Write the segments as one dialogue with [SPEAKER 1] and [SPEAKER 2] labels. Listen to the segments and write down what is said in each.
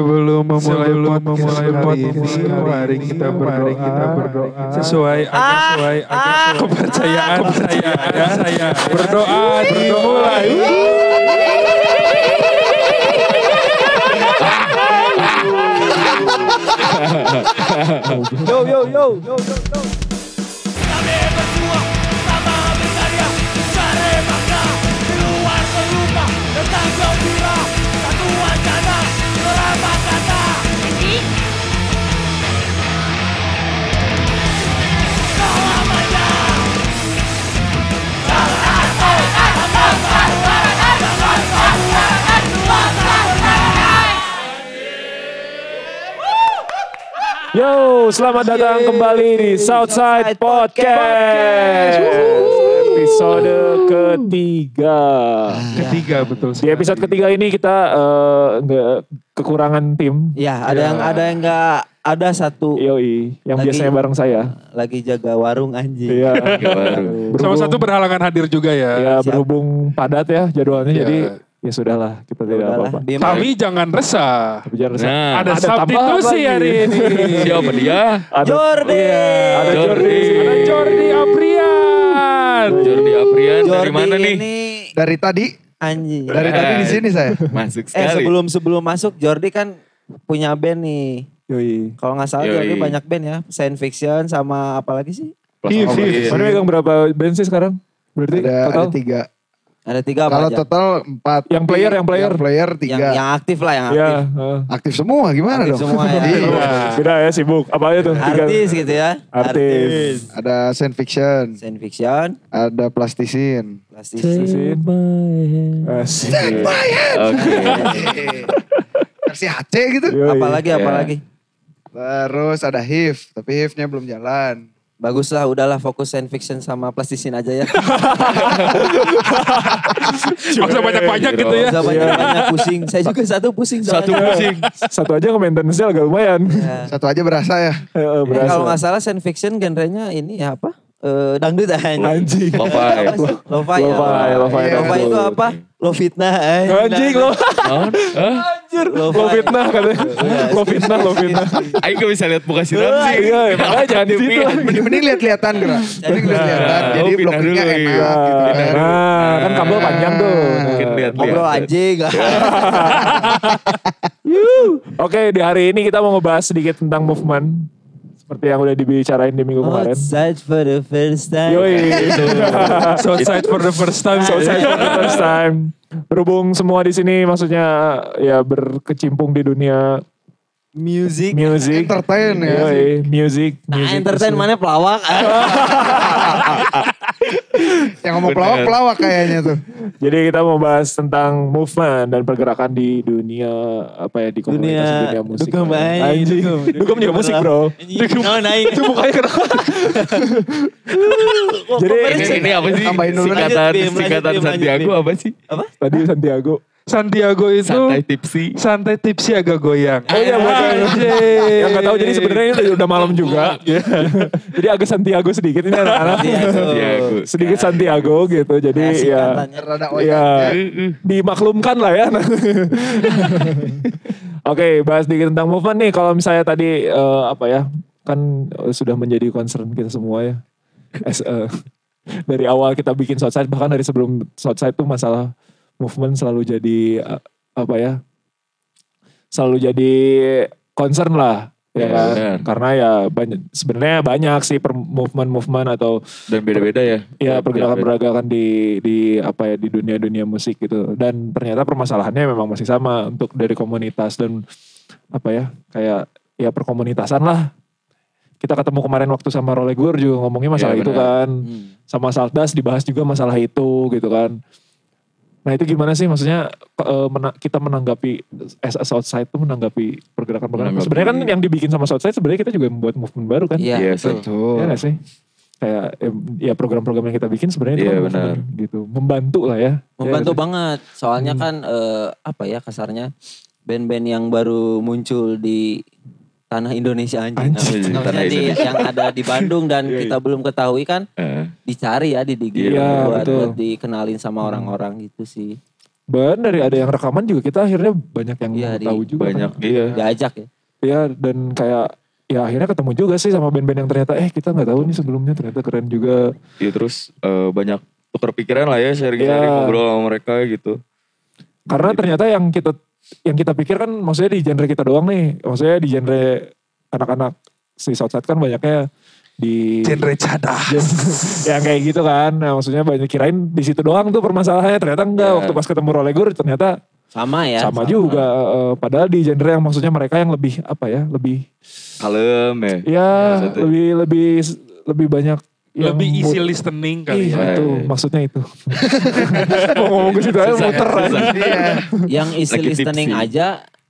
[SPEAKER 1] Sebelum memulai
[SPEAKER 2] Sebelum
[SPEAKER 1] podcast hari ini,
[SPEAKER 2] memulai podcast hari
[SPEAKER 1] mari
[SPEAKER 2] ini,
[SPEAKER 1] kita berdoa,
[SPEAKER 2] mari kita berdoa
[SPEAKER 1] sesuai
[SPEAKER 3] Ah,
[SPEAKER 1] agak sesuai agak sesuai kepercayaan saya saya berdoa dimulai.
[SPEAKER 3] Yo yo yo. yo, yo.
[SPEAKER 4] Kami berdua sama berkarya Mencari makna di luar peluka Tentang kau bila Satu wacana selama kata Selamanya
[SPEAKER 3] Yo, selamat datang kembali di Southside Podcast. Episode ketiga.
[SPEAKER 1] Ketiga betul.
[SPEAKER 3] Di episode ketiga ini kita eh, nggak kekurangan tim.
[SPEAKER 5] Ya, ada yang ada yang enggak ada satu
[SPEAKER 3] Iya. Yoi, yang
[SPEAKER 5] Lagi-
[SPEAKER 3] biasanya bareng saya.
[SPEAKER 5] lagi jaga warung anjing.
[SPEAKER 3] Iya.
[SPEAKER 1] Sama
[SPEAKER 3] Berhubung-
[SPEAKER 1] satu berhalangan hadir juga ya.
[SPEAKER 3] Ya,
[SPEAKER 5] Siap.
[SPEAKER 3] berhubung padat ya jadwalnya
[SPEAKER 1] Iya.
[SPEAKER 3] jadi ya sudahlah, kita tidak
[SPEAKER 5] Udahlah,
[SPEAKER 3] apa-apa.
[SPEAKER 5] diem aja.
[SPEAKER 1] Tapi jangan resah.
[SPEAKER 3] Biar
[SPEAKER 2] Nah.
[SPEAKER 1] Ada substitusi
[SPEAKER 3] tambahan
[SPEAKER 1] hari
[SPEAKER 3] lagi.
[SPEAKER 1] ini.
[SPEAKER 2] Siapa dia?
[SPEAKER 3] Ada
[SPEAKER 5] Jordi.
[SPEAKER 3] Iya, ada Jordi.
[SPEAKER 2] Jordi.
[SPEAKER 1] Ada Jordi Aprian.
[SPEAKER 2] Jordi Aprian
[SPEAKER 5] Jordi
[SPEAKER 2] dari mana nih?
[SPEAKER 5] ini
[SPEAKER 6] Dari tadi,
[SPEAKER 5] anjing.
[SPEAKER 6] dari tadi di sini saya.
[SPEAKER 5] eh
[SPEAKER 2] Masuk sekali.
[SPEAKER 5] sebelum sebelum masuk Jordi kan punya band nih.
[SPEAKER 3] Yoi.
[SPEAKER 5] Kalau nggak salah
[SPEAKER 2] Yoi.
[SPEAKER 5] Jordi banyak band ya, Science Fiction sama apalagi sih?
[SPEAKER 3] Iya,
[SPEAKER 1] If,
[SPEAKER 2] Plasma
[SPEAKER 1] if.
[SPEAKER 2] Bali.
[SPEAKER 3] Mana megang berapa band sih sekarang? Berarti
[SPEAKER 6] Ada,
[SPEAKER 3] total?
[SPEAKER 6] ada tiga.
[SPEAKER 5] Ada tiga apa
[SPEAKER 6] Kalau
[SPEAKER 5] aja?
[SPEAKER 6] total empat.
[SPEAKER 3] Yang player, yang player.
[SPEAKER 6] Yang player
[SPEAKER 5] yang
[SPEAKER 6] tiga.
[SPEAKER 5] yang aktif lah yang
[SPEAKER 3] Iya,
[SPEAKER 5] aktif.
[SPEAKER 3] heeh.
[SPEAKER 6] Aktif semua gimana
[SPEAKER 5] Aktif
[SPEAKER 6] dong?
[SPEAKER 5] semua ya.
[SPEAKER 6] Iya.
[SPEAKER 3] Beda ya sibuk. Apa aja tuh? Tiga.
[SPEAKER 5] Artis gitu ya.
[SPEAKER 3] Artis.
[SPEAKER 6] ada science fiction,
[SPEAKER 5] Science Fiction,
[SPEAKER 6] ada plastisin.
[SPEAKER 5] plastis.
[SPEAKER 3] Sisin. Asik.
[SPEAKER 2] Oke.
[SPEAKER 6] Versi HC gitu.
[SPEAKER 3] Yoi.
[SPEAKER 5] Apalagi apalagi.
[SPEAKER 6] Terus ada HIV, tapi HIV-nya belum jalan.
[SPEAKER 5] Baguslah udahlah fokus science fiction sama plastisin aja ya.
[SPEAKER 1] Gak usah banyak-banyak gitu ya.
[SPEAKER 5] Bisa banyak-banyak pusing. Saya juga satu pusing.
[SPEAKER 2] Satu
[SPEAKER 5] soalnya.
[SPEAKER 2] pusing.
[SPEAKER 3] Satu aja nge-maintenance-nya agak lumayan.
[SPEAKER 5] Ya.
[SPEAKER 6] Satu aja berasa ya.
[SPEAKER 3] Heeh,
[SPEAKER 5] Eh,
[SPEAKER 3] Berasa.
[SPEAKER 5] Kalau nggak salah science fiction genrenya ini ya apa? Eh dangdut anjing.
[SPEAKER 3] Anjing.
[SPEAKER 2] Popeye.
[SPEAKER 5] Apa sih? Lo-fi.
[SPEAKER 3] Lo-fi,
[SPEAKER 5] ya,
[SPEAKER 3] lo-fi
[SPEAKER 5] Lo-fi
[SPEAKER 6] dangdut.
[SPEAKER 5] itu apa? Lo fitnah. eh.
[SPEAKER 3] Anjing lo.
[SPEAKER 2] Naon? Hah?
[SPEAKER 3] Anjir. Lo fitnah katanya. Lo fitnah, lo fitnah.
[SPEAKER 2] Aing gak bisa lihat muka si Ramzi.
[SPEAKER 3] Iya, makanya jangan di situ. kan
[SPEAKER 6] Mending, mending lihat-lihatan gerak. Mending lihat-lihatan.
[SPEAKER 2] Nah,
[SPEAKER 6] Jadi
[SPEAKER 2] oh, pindah
[SPEAKER 6] blokirnya
[SPEAKER 2] dulu,
[SPEAKER 6] enak
[SPEAKER 2] iya.
[SPEAKER 6] gitu kan.
[SPEAKER 3] Nah, kan kabel panjang tuh.
[SPEAKER 2] Mungkin
[SPEAKER 3] Nah.
[SPEAKER 2] lihat
[SPEAKER 5] Ngobrol anjing.
[SPEAKER 3] Oke, di hari ini kita mau ngebahas sedikit tentang movement. Seperti yang udah dibicarain di
[SPEAKER 5] Oh,
[SPEAKER 3] minggu kemarin.
[SPEAKER 5] Outside for the first time.
[SPEAKER 3] Yoi.
[SPEAKER 1] Southside for the first time.
[SPEAKER 3] So sad gitu for the first time. Berhubung semua di sini maksudnya ya berkecimpung di dunia
[SPEAKER 5] Music.
[SPEAKER 3] music.
[SPEAKER 6] Entertain ya.
[SPEAKER 3] Yoi, music.
[SPEAKER 5] Nah,
[SPEAKER 3] music.
[SPEAKER 5] entertain mana pelawak.
[SPEAKER 6] Yang ngomong
[SPEAKER 2] Bener.
[SPEAKER 6] pelawak-pelawak kayaknya tuh.
[SPEAKER 3] Jadi kita mau bahas tentang movement dan pergerakan di dunia apa ya di komunitas dunia,
[SPEAKER 5] Dunia-
[SPEAKER 3] musik.
[SPEAKER 5] dugem, ay.
[SPEAKER 3] Anjing.
[SPEAKER 5] Dugem, dugem.
[SPEAKER 3] Dugem juga musik, Bro.
[SPEAKER 5] No, naik.
[SPEAKER 3] Itu mukanya kenapa? Jadi
[SPEAKER 2] Ini, ini apa sih?
[SPEAKER 6] Tambahin dulu.
[SPEAKER 2] Singkatan,
[SPEAKER 5] Lanjut, Bim, lanjut,
[SPEAKER 2] singkatan
[SPEAKER 5] Bim, lanjut,
[SPEAKER 2] Santiago
[SPEAKER 5] Bim.
[SPEAKER 2] apa sih?
[SPEAKER 5] Apa?
[SPEAKER 3] tadi Santiago.
[SPEAKER 1] Santiago itu
[SPEAKER 2] Santai tipsi.
[SPEAKER 1] santai tipsi agak goyang.
[SPEAKER 3] Oh iya, buat yang- yang nggak tahu jadi sebenarnya ini udah malam juga. jadi agak Santiago sedikit ini anak-anak.
[SPEAKER 2] Santiago.
[SPEAKER 3] sedikit Santiago gitu. Jadi
[SPEAKER 5] Asik
[SPEAKER 3] ya
[SPEAKER 5] katanya.
[SPEAKER 6] Rada
[SPEAKER 2] Iya.
[SPEAKER 3] ya
[SPEAKER 6] oyak.
[SPEAKER 3] dimaklumkan lah ya. Oke, bahas sedikit tentang movement nih. Kalau misalnya tadi eh, apa ya? Kan eh, sudah menjadi concern kita semua ya. As, eh, dari awal kita bikin Southside bahkan dari sebelum Southside tuh masalah movement selalu jadi eh, apa ya? Selalu jadi concern lah. Ya,
[SPEAKER 2] Iya,
[SPEAKER 3] kan?
[SPEAKER 2] benar.
[SPEAKER 3] karena ya banyak sebenarnya banyak sih per movement movement atau
[SPEAKER 2] Dan beda-beda ya?
[SPEAKER 3] ya pergerakan-pergerakan
[SPEAKER 2] iya.
[SPEAKER 3] di di apa ya di dunia-dunia musik gitu dan ternyata permasalahannya memang masih sama untuk dari komunitas dan apa ya kayak ya perkomunitasan lah kita ketemu kemarin waktu sama Role Gur juga ngomongnya masalah
[SPEAKER 2] Iya,
[SPEAKER 3] itu
[SPEAKER 2] benar.
[SPEAKER 3] kan sama Saldas dibahas juga masalah itu gitu kan nah itu gimana sih maksudnya ke- eh, mena- kita menanggapi as, as outside itu menanggapi pergerakan-pergerakan
[SPEAKER 2] Menanggapi.
[SPEAKER 3] sebenarnya kan yang dibikin sama outside sebenarnya kita juga membuat movement baru kan
[SPEAKER 5] Iya.
[SPEAKER 2] Iya,
[SPEAKER 3] Iya
[SPEAKER 5] betul.
[SPEAKER 6] Tuh.
[SPEAKER 3] gak sih? Kayak em, ya program-program yang kita bikin sebenarnya itu
[SPEAKER 2] Iya,
[SPEAKER 3] kan
[SPEAKER 2] benar.
[SPEAKER 3] gitu. Membantu lah ya.
[SPEAKER 5] Membantu
[SPEAKER 3] Iya Hmm. gak sih?
[SPEAKER 5] banget. Soalnya kan eh, apa ya kasarnya band-band yang baru muncul di tanah Indonesia anjing.
[SPEAKER 2] Anjing,
[SPEAKER 5] Maksudnya
[SPEAKER 2] tanah
[SPEAKER 5] di-
[SPEAKER 2] Indonesia.
[SPEAKER 5] yang ada di Bandung dan kita belum ketahui kan
[SPEAKER 2] Eh.
[SPEAKER 5] dicari ya di Digi
[SPEAKER 3] Iya, betul.
[SPEAKER 5] buat,
[SPEAKER 3] Hmm.
[SPEAKER 5] buat dikenalin sama orang-orang gitu sih.
[SPEAKER 3] Bener ya, ada yang rekaman juga kita akhirnya banyak yang
[SPEAKER 5] Iya, di-
[SPEAKER 3] tahu juga.
[SPEAKER 2] banyak,
[SPEAKER 3] kan.
[SPEAKER 2] iya.
[SPEAKER 3] Iya.
[SPEAKER 5] diajak ya.
[SPEAKER 3] Iya, dan kayak ya akhirnya ketemu juga sih sama band-band yang ternyata eh kita nggak tahu nih sebelumnya ternyata keren juga.
[SPEAKER 2] Ya terus eh, banyak tukar pikiran lah ya sharing-sharing
[SPEAKER 3] Iya.
[SPEAKER 2] ngobrol sama mereka gitu.
[SPEAKER 5] Iya.
[SPEAKER 3] Karena ternyata yang kita yang kita pikir kan maksudnya di genre kita doang nih. Maksudnya di genre anak-anak si Southside kan banyaknya di
[SPEAKER 1] Genre cadah.
[SPEAKER 3] yang kayak gitu kan. Nah, maksudnya banyak kirain di situ doang tuh permasalahannya ternyata enggak
[SPEAKER 2] Iya.
[SPEAKER 3] waktu pas ketemu Rolegur ternyata
[SPEAKER 5] Sama ya.
[SPEAKER 3] sama, juga eh, padahal di genre yang maksudnya mereka yang lebih apa ya, lebih
[SPEAKER 2] Kalem ya.
[SPEAKER 3] ya
[SPEAKER 2] maksudnya.
[SPEAKER 3] lebih lebih lebih banyak yang
[SPEAKER 1] Lebih easy
[SPEAKER 3] mut-
[SPEAKER 1] listening
[SPEAKER 3] Ih,
[SPEAKER 1] kali ya.
[SPEAKER 2] Iya.
[SPEAKER 3] itu maksudnya itu. Mau ngomong ke situ aja
[SPEAKER 2] Susah,
[SPEAKER 3] muter aja.
[SPEAKER 2] susah.
[SPEAKER 6] Iya.
[SPEAKER 5] Yang isi
[SPEAKER 2] Lagi
[SPEAKER 5] listening
[SPEAKER 2] tipsy.
[SPEAKER 5] aja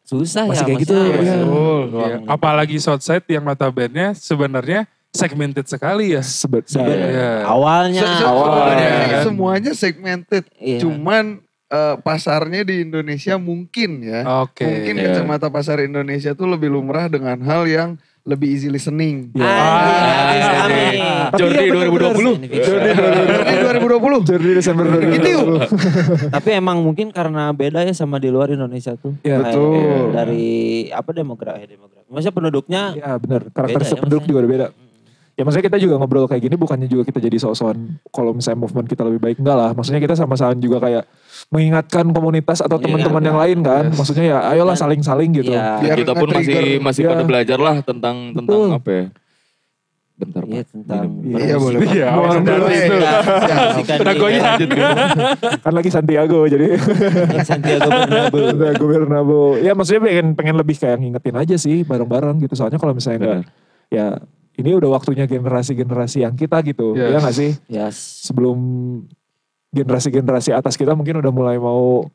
[SPEAKER 5] susah
[SPEAKER 3] Masih
[SPEAKER 5] ya.
[SPEAKER 3] kayak gitu,
[SPEAKER 5] maksudnya.
[SPEAKER 3] iya.
[SPEAKER 1] Betul.
[SPEAKER 5] Ruang-
[SPEAKER 1] Iya. Apalagi Southside yang notabene sebenarnya segmented sekali ya.
[SPEAKER 3] Sebe-
[SPEAKER 5] Sebe-
[SPEAKER 3] Iya.
[SPEAKER 1] Iya.
[SPEAKER 5] Awalnya.
[SPEAKER 6] Se- se-
[SPEAKER 1] Awalnya.
[SPEAKER 3] kan?
[SPEAKER 6] Semuanya segmented.
[SPEAKER 5] kan? Iya.
[SPEAKER 6] Cuman eh, pasarnya di Indonesia mungkin ya.
[SPEAKER 1] Oke.
[SPEAKER 6] Mungkin
[SPEAKER 2] Iya.
[SPEAKER 6] kacamata pasar Indonesia tuh lebih lumrah dengan hal yang lebih easy listening.
[SPEAKER 3] Iya.
[SPEAKER 5] Anjing,
[SPEAKER 1] Ah,
[SPEAKER 5] anjing.
[SPEAKER 2] Jordi
[SPEAKER 5] ya
[SPEAKER 3] Tapi iya,
[SPEAKER 2] 2020.
[SPEAKER 5] Jordi
[SPEAKER 6] Ini 2020.
[SPEAKER 3] Jadi Desember
[SPEAKER 6] Gitu.
[SPEAKER 3] 2020.
[SPEAKER 5] Tapi emang mungkin karena beda ya sama di luar Indonesia tuh.
[SPEAKER 3] Iya.
[SPEAKER 5] Kayak
[SPEAKER 6] Betul.
[SPEAKER 5] Dari apa demografi demografi. Maksudnya penduduknya
[SPEAKER 3] Iya benar. Karakter
[SPEAKER 5] Beda ya,
[SPEAKER 3] penduduk
[SPEAKER 5] maksudnya.
[SPEAKER 3] juga udah beda. Ya maksudnya kita juga ngobrol kayak gini bukannya juga kita jadi sok-sokan kalau misalnya movement kita lebih baik enggak lah. Maksudnya kita sama-sama juga kayak mengingatkan komunitas atau teman-teman yang lain kan. Maksudnya ya ayolah
[SPEAKER 5] Iya, Dan-
[SPEAKER 3] saling-saling gitu.
[SPEAKER 5] Iya.
[SPEAKER 6] Biar
[SPEAKER 2] kita pun
[SPEAKER 6] nge-trigger.
[SPEAKER 2] masih masih
[SPEAKER 3] Iya.
[SPEAKER 2] pada belajar lah tentang tentang
[SPEAKER 3] Betul.
[SPEAKER 2] apa ya. Bentar
[SPEAKER 5] Iya
[SPEAKER 2] Pak.
[SPEAKER 5] tentang.
[SPEAKER 3] Iya.
[SPEAKER 6] Iya boleh. Iya.
[SPEAKER 1] Iya,
[SPEAKER 3] Mau
[SPEAKER 1] awal
[SPEAKER 3] ambil
[SPEAKER 1] dari itu.
[SPEAKER 5] Saksikan
[SPEAKER 1] Udah
[SPEAKER 5] di
[SPEAKER 1] goyah.
[SPEAKER 3] Kan lagi Santiago jadi
[SPEAKER 5] Santiago Bernabeu.
[SPEAKER 3] Nah, Gubernabo. Ya maksudnya pengen pengen lebih kayak ngingetin aja sih bareng-bareng gitu. Soalnya kalau misalnya enggak ya ini udah waktunya generasi-generasi yang kita gitu.
[SPEAKER 5] Iya.
[SPEAKER 1] Yes.
[SPEAKER 3] Ya enggak sih?
[SPEAKER 5] Yes.
[SPEAKER 3] Sebelum generasi-generasi atas kita mungkin udah mulai mau